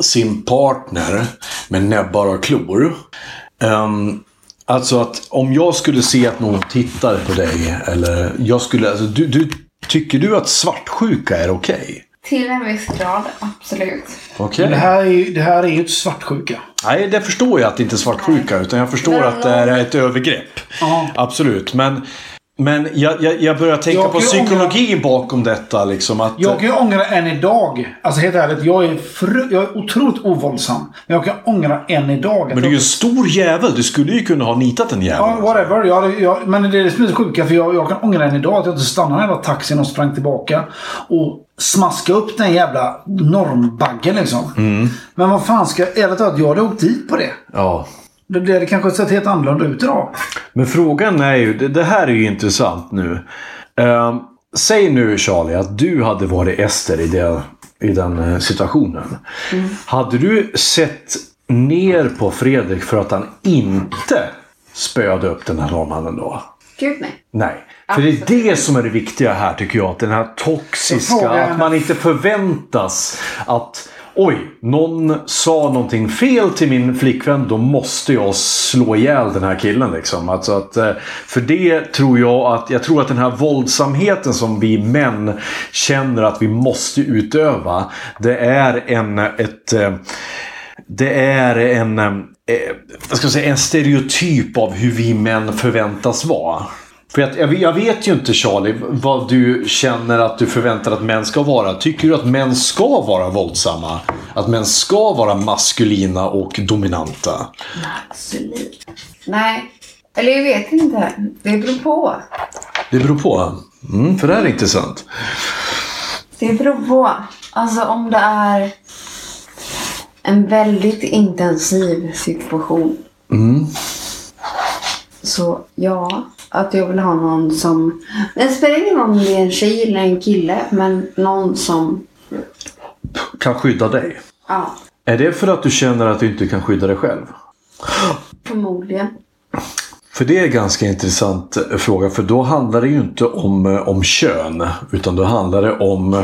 S1: sin partner med näbbar och klor. Ehm, Alltså att om jag skulle se att någon tittar på dig eller jag skulle, alltså, du, du, tycker du att svartsjuka är okej?
S3: Till en viss grad, absolut.
S1: Okej.
S2: Men det här är ju, det här är ju ett svartsjuka.
S1: Nej, det förstår jag att det inte är svartsjuka. Utan jag förstår
S3: Men
S1: att det är ett övergrepp.
S2: Ja.
S1: Absolut. Men, men jag, jag, jag börjar tänka
S2: Jag
S1: på
S2: kan ju
S1: psykologin bakom detta. Liksom, att,
S2: Jag kan ju ångra än idag. Alltså helt ärligt, jag är, fru, jag är otroligt ovåldsam. Men jag kan ångra än idag. att
S1: men du är
S2: jag-
S1: ju en stor jävel. Du skulle ju kunna ha nitat en jävel.
S2: Ja, whatever. Jag, hade- jag, men det är det som är det sjuka. För jag, jag kan ångra än idag att jag inte stannade i den jävla taxin och sprang tillbaka. Och smaska upp den jävla normbaggen liksom. Men vad fan ska jag... Ärligt talat, jag hade åkt dit på det.
S1: Ja.
S2: Det, det hade kanske sett helt annorlunda ut idag.
S1: Men frågan är ju, det, det här är ju intressant nu. Ehm, säg nu Charlie att du hade varit Ester i, det, i den eh, situationen. Hade du sett ner på Fredrik för att han inte spöade upp den här norrmannen då?
S3: Gud nej.
S1: Nej. För det är det som är det viktiga här tycker jag. Att den här toxiska,
S2: Jag frågar
S1: att man inte förväntas att Oj, någon sa någonting fel till min flickvän. Då måste jag slå ihjäl den här killen. Liksom. Alltså att, eh, för det tror jag att, jag tror att den här våldsamheten som vi män känner att vi måste utöva. Det är en, ett, eh, det är en, eh, vad ska jag säga, en stereotyp av hur vi män förväntas vara. För jag, jag, jag vet ju inte Charlie vad du känner att du förväntar att män ska vara. Tycker du att män ska vara våldsamma? Att män ska vara maskulina och dominanta?
S3: Absolut. Nej. Eller jag vet inte. Det beror på.
S1: Det beror på. Mm, för det här är intressant.
S3: Det beror på. Alltså om det är en väldigt intensiv situation. Så ja, att jag vill ha någon som... Det spelar ingen roll om det är en tjej eller en kille, men någon som...
S1: Kan skydda dig.
S3: Ja,
S1: Är det för att du känner att du inte kan skydda dig själv?
S3: förmodligen.
S1: För det är en ganska intressant eh, fråga. För då handlar det ju inte om, eh, om kön. Utan då handlar det om eh,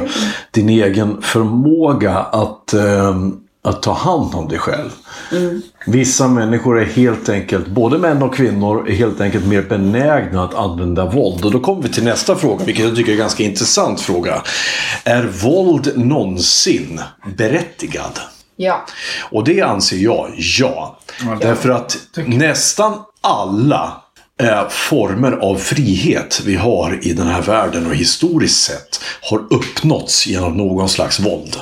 S1: din egen förmåga att, eh, att ta hand om dig själv. Vissa människor är helt enkelt, både män och kvinnor, är helt enkelt mer benägna att använda våld. Och då kommer vi till nästa fråga, vilket jag tycker är en ganska intressant fråga. Är våld någonsin berättigad?
S3: Ja.
S1: Och det anser jag, ja. Därför att nästan alla eh, former av frihet vi har i den här världen och historiskt sett har uppnåtts genom någon slags våld.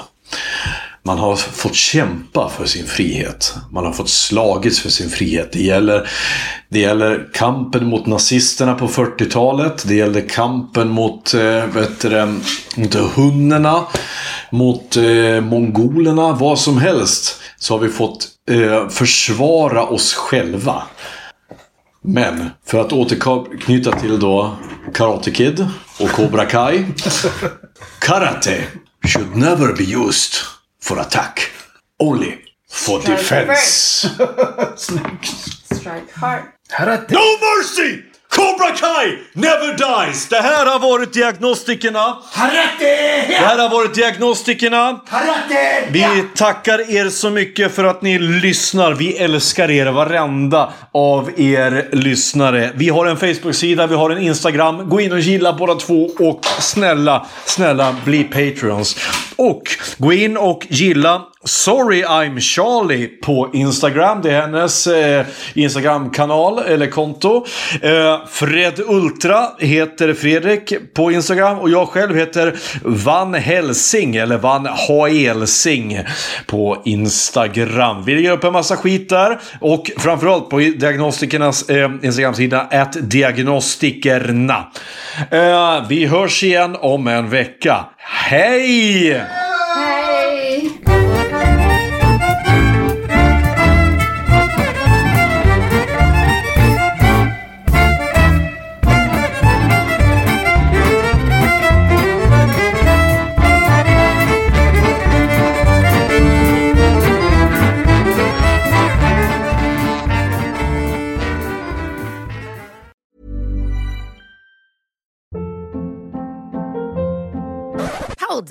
S1: Man har fått kämpa för sin frihet. Man har fått slagits för sin frihet. Det gäller, det gäller kampen mot nazisterna på 40-talet. Det gällde kampen mot, eh, vet du, det, mot hunnerna, mot eh, mongolerna, vad som helst. Så har vi fått eh, försvara oss själva. Men för att återknyta till då Karate Kid och Cobra Kai. Karate should never be used for attack. Only for
S3: Strike
S1: defense.
S3: Strike hard.
S2: Här är det.
S1: No mercy! Cobra Kai never dies! Det här har varit diagnostikerna. Det här har varit diagnostikerna. Vi tackar er så mycket för att ni lyssnar. Vi älskar er, varenda av er lyssnare. Vi har en Facebook-sida, vi har en Instagram. Gå in och gilla båda två och snälla, snälla bli Patreons. Och gå in och gilla Sorry I'm Charlie på Instagram. Det är hennes eh, Instagram-kanal eller konto. Eh, Fred Ultra heter Fredrik på Instagram och jag själv heter Van Helsing eller Van Haelsing på Instagram. Vi lägger upp en massa skit där och framförallt på diagnostikernas eh, Instagram-sida diagnostikerna. Eh, vi hörs igen om en vecka. Hej!
S3: Hej!
S4: Hold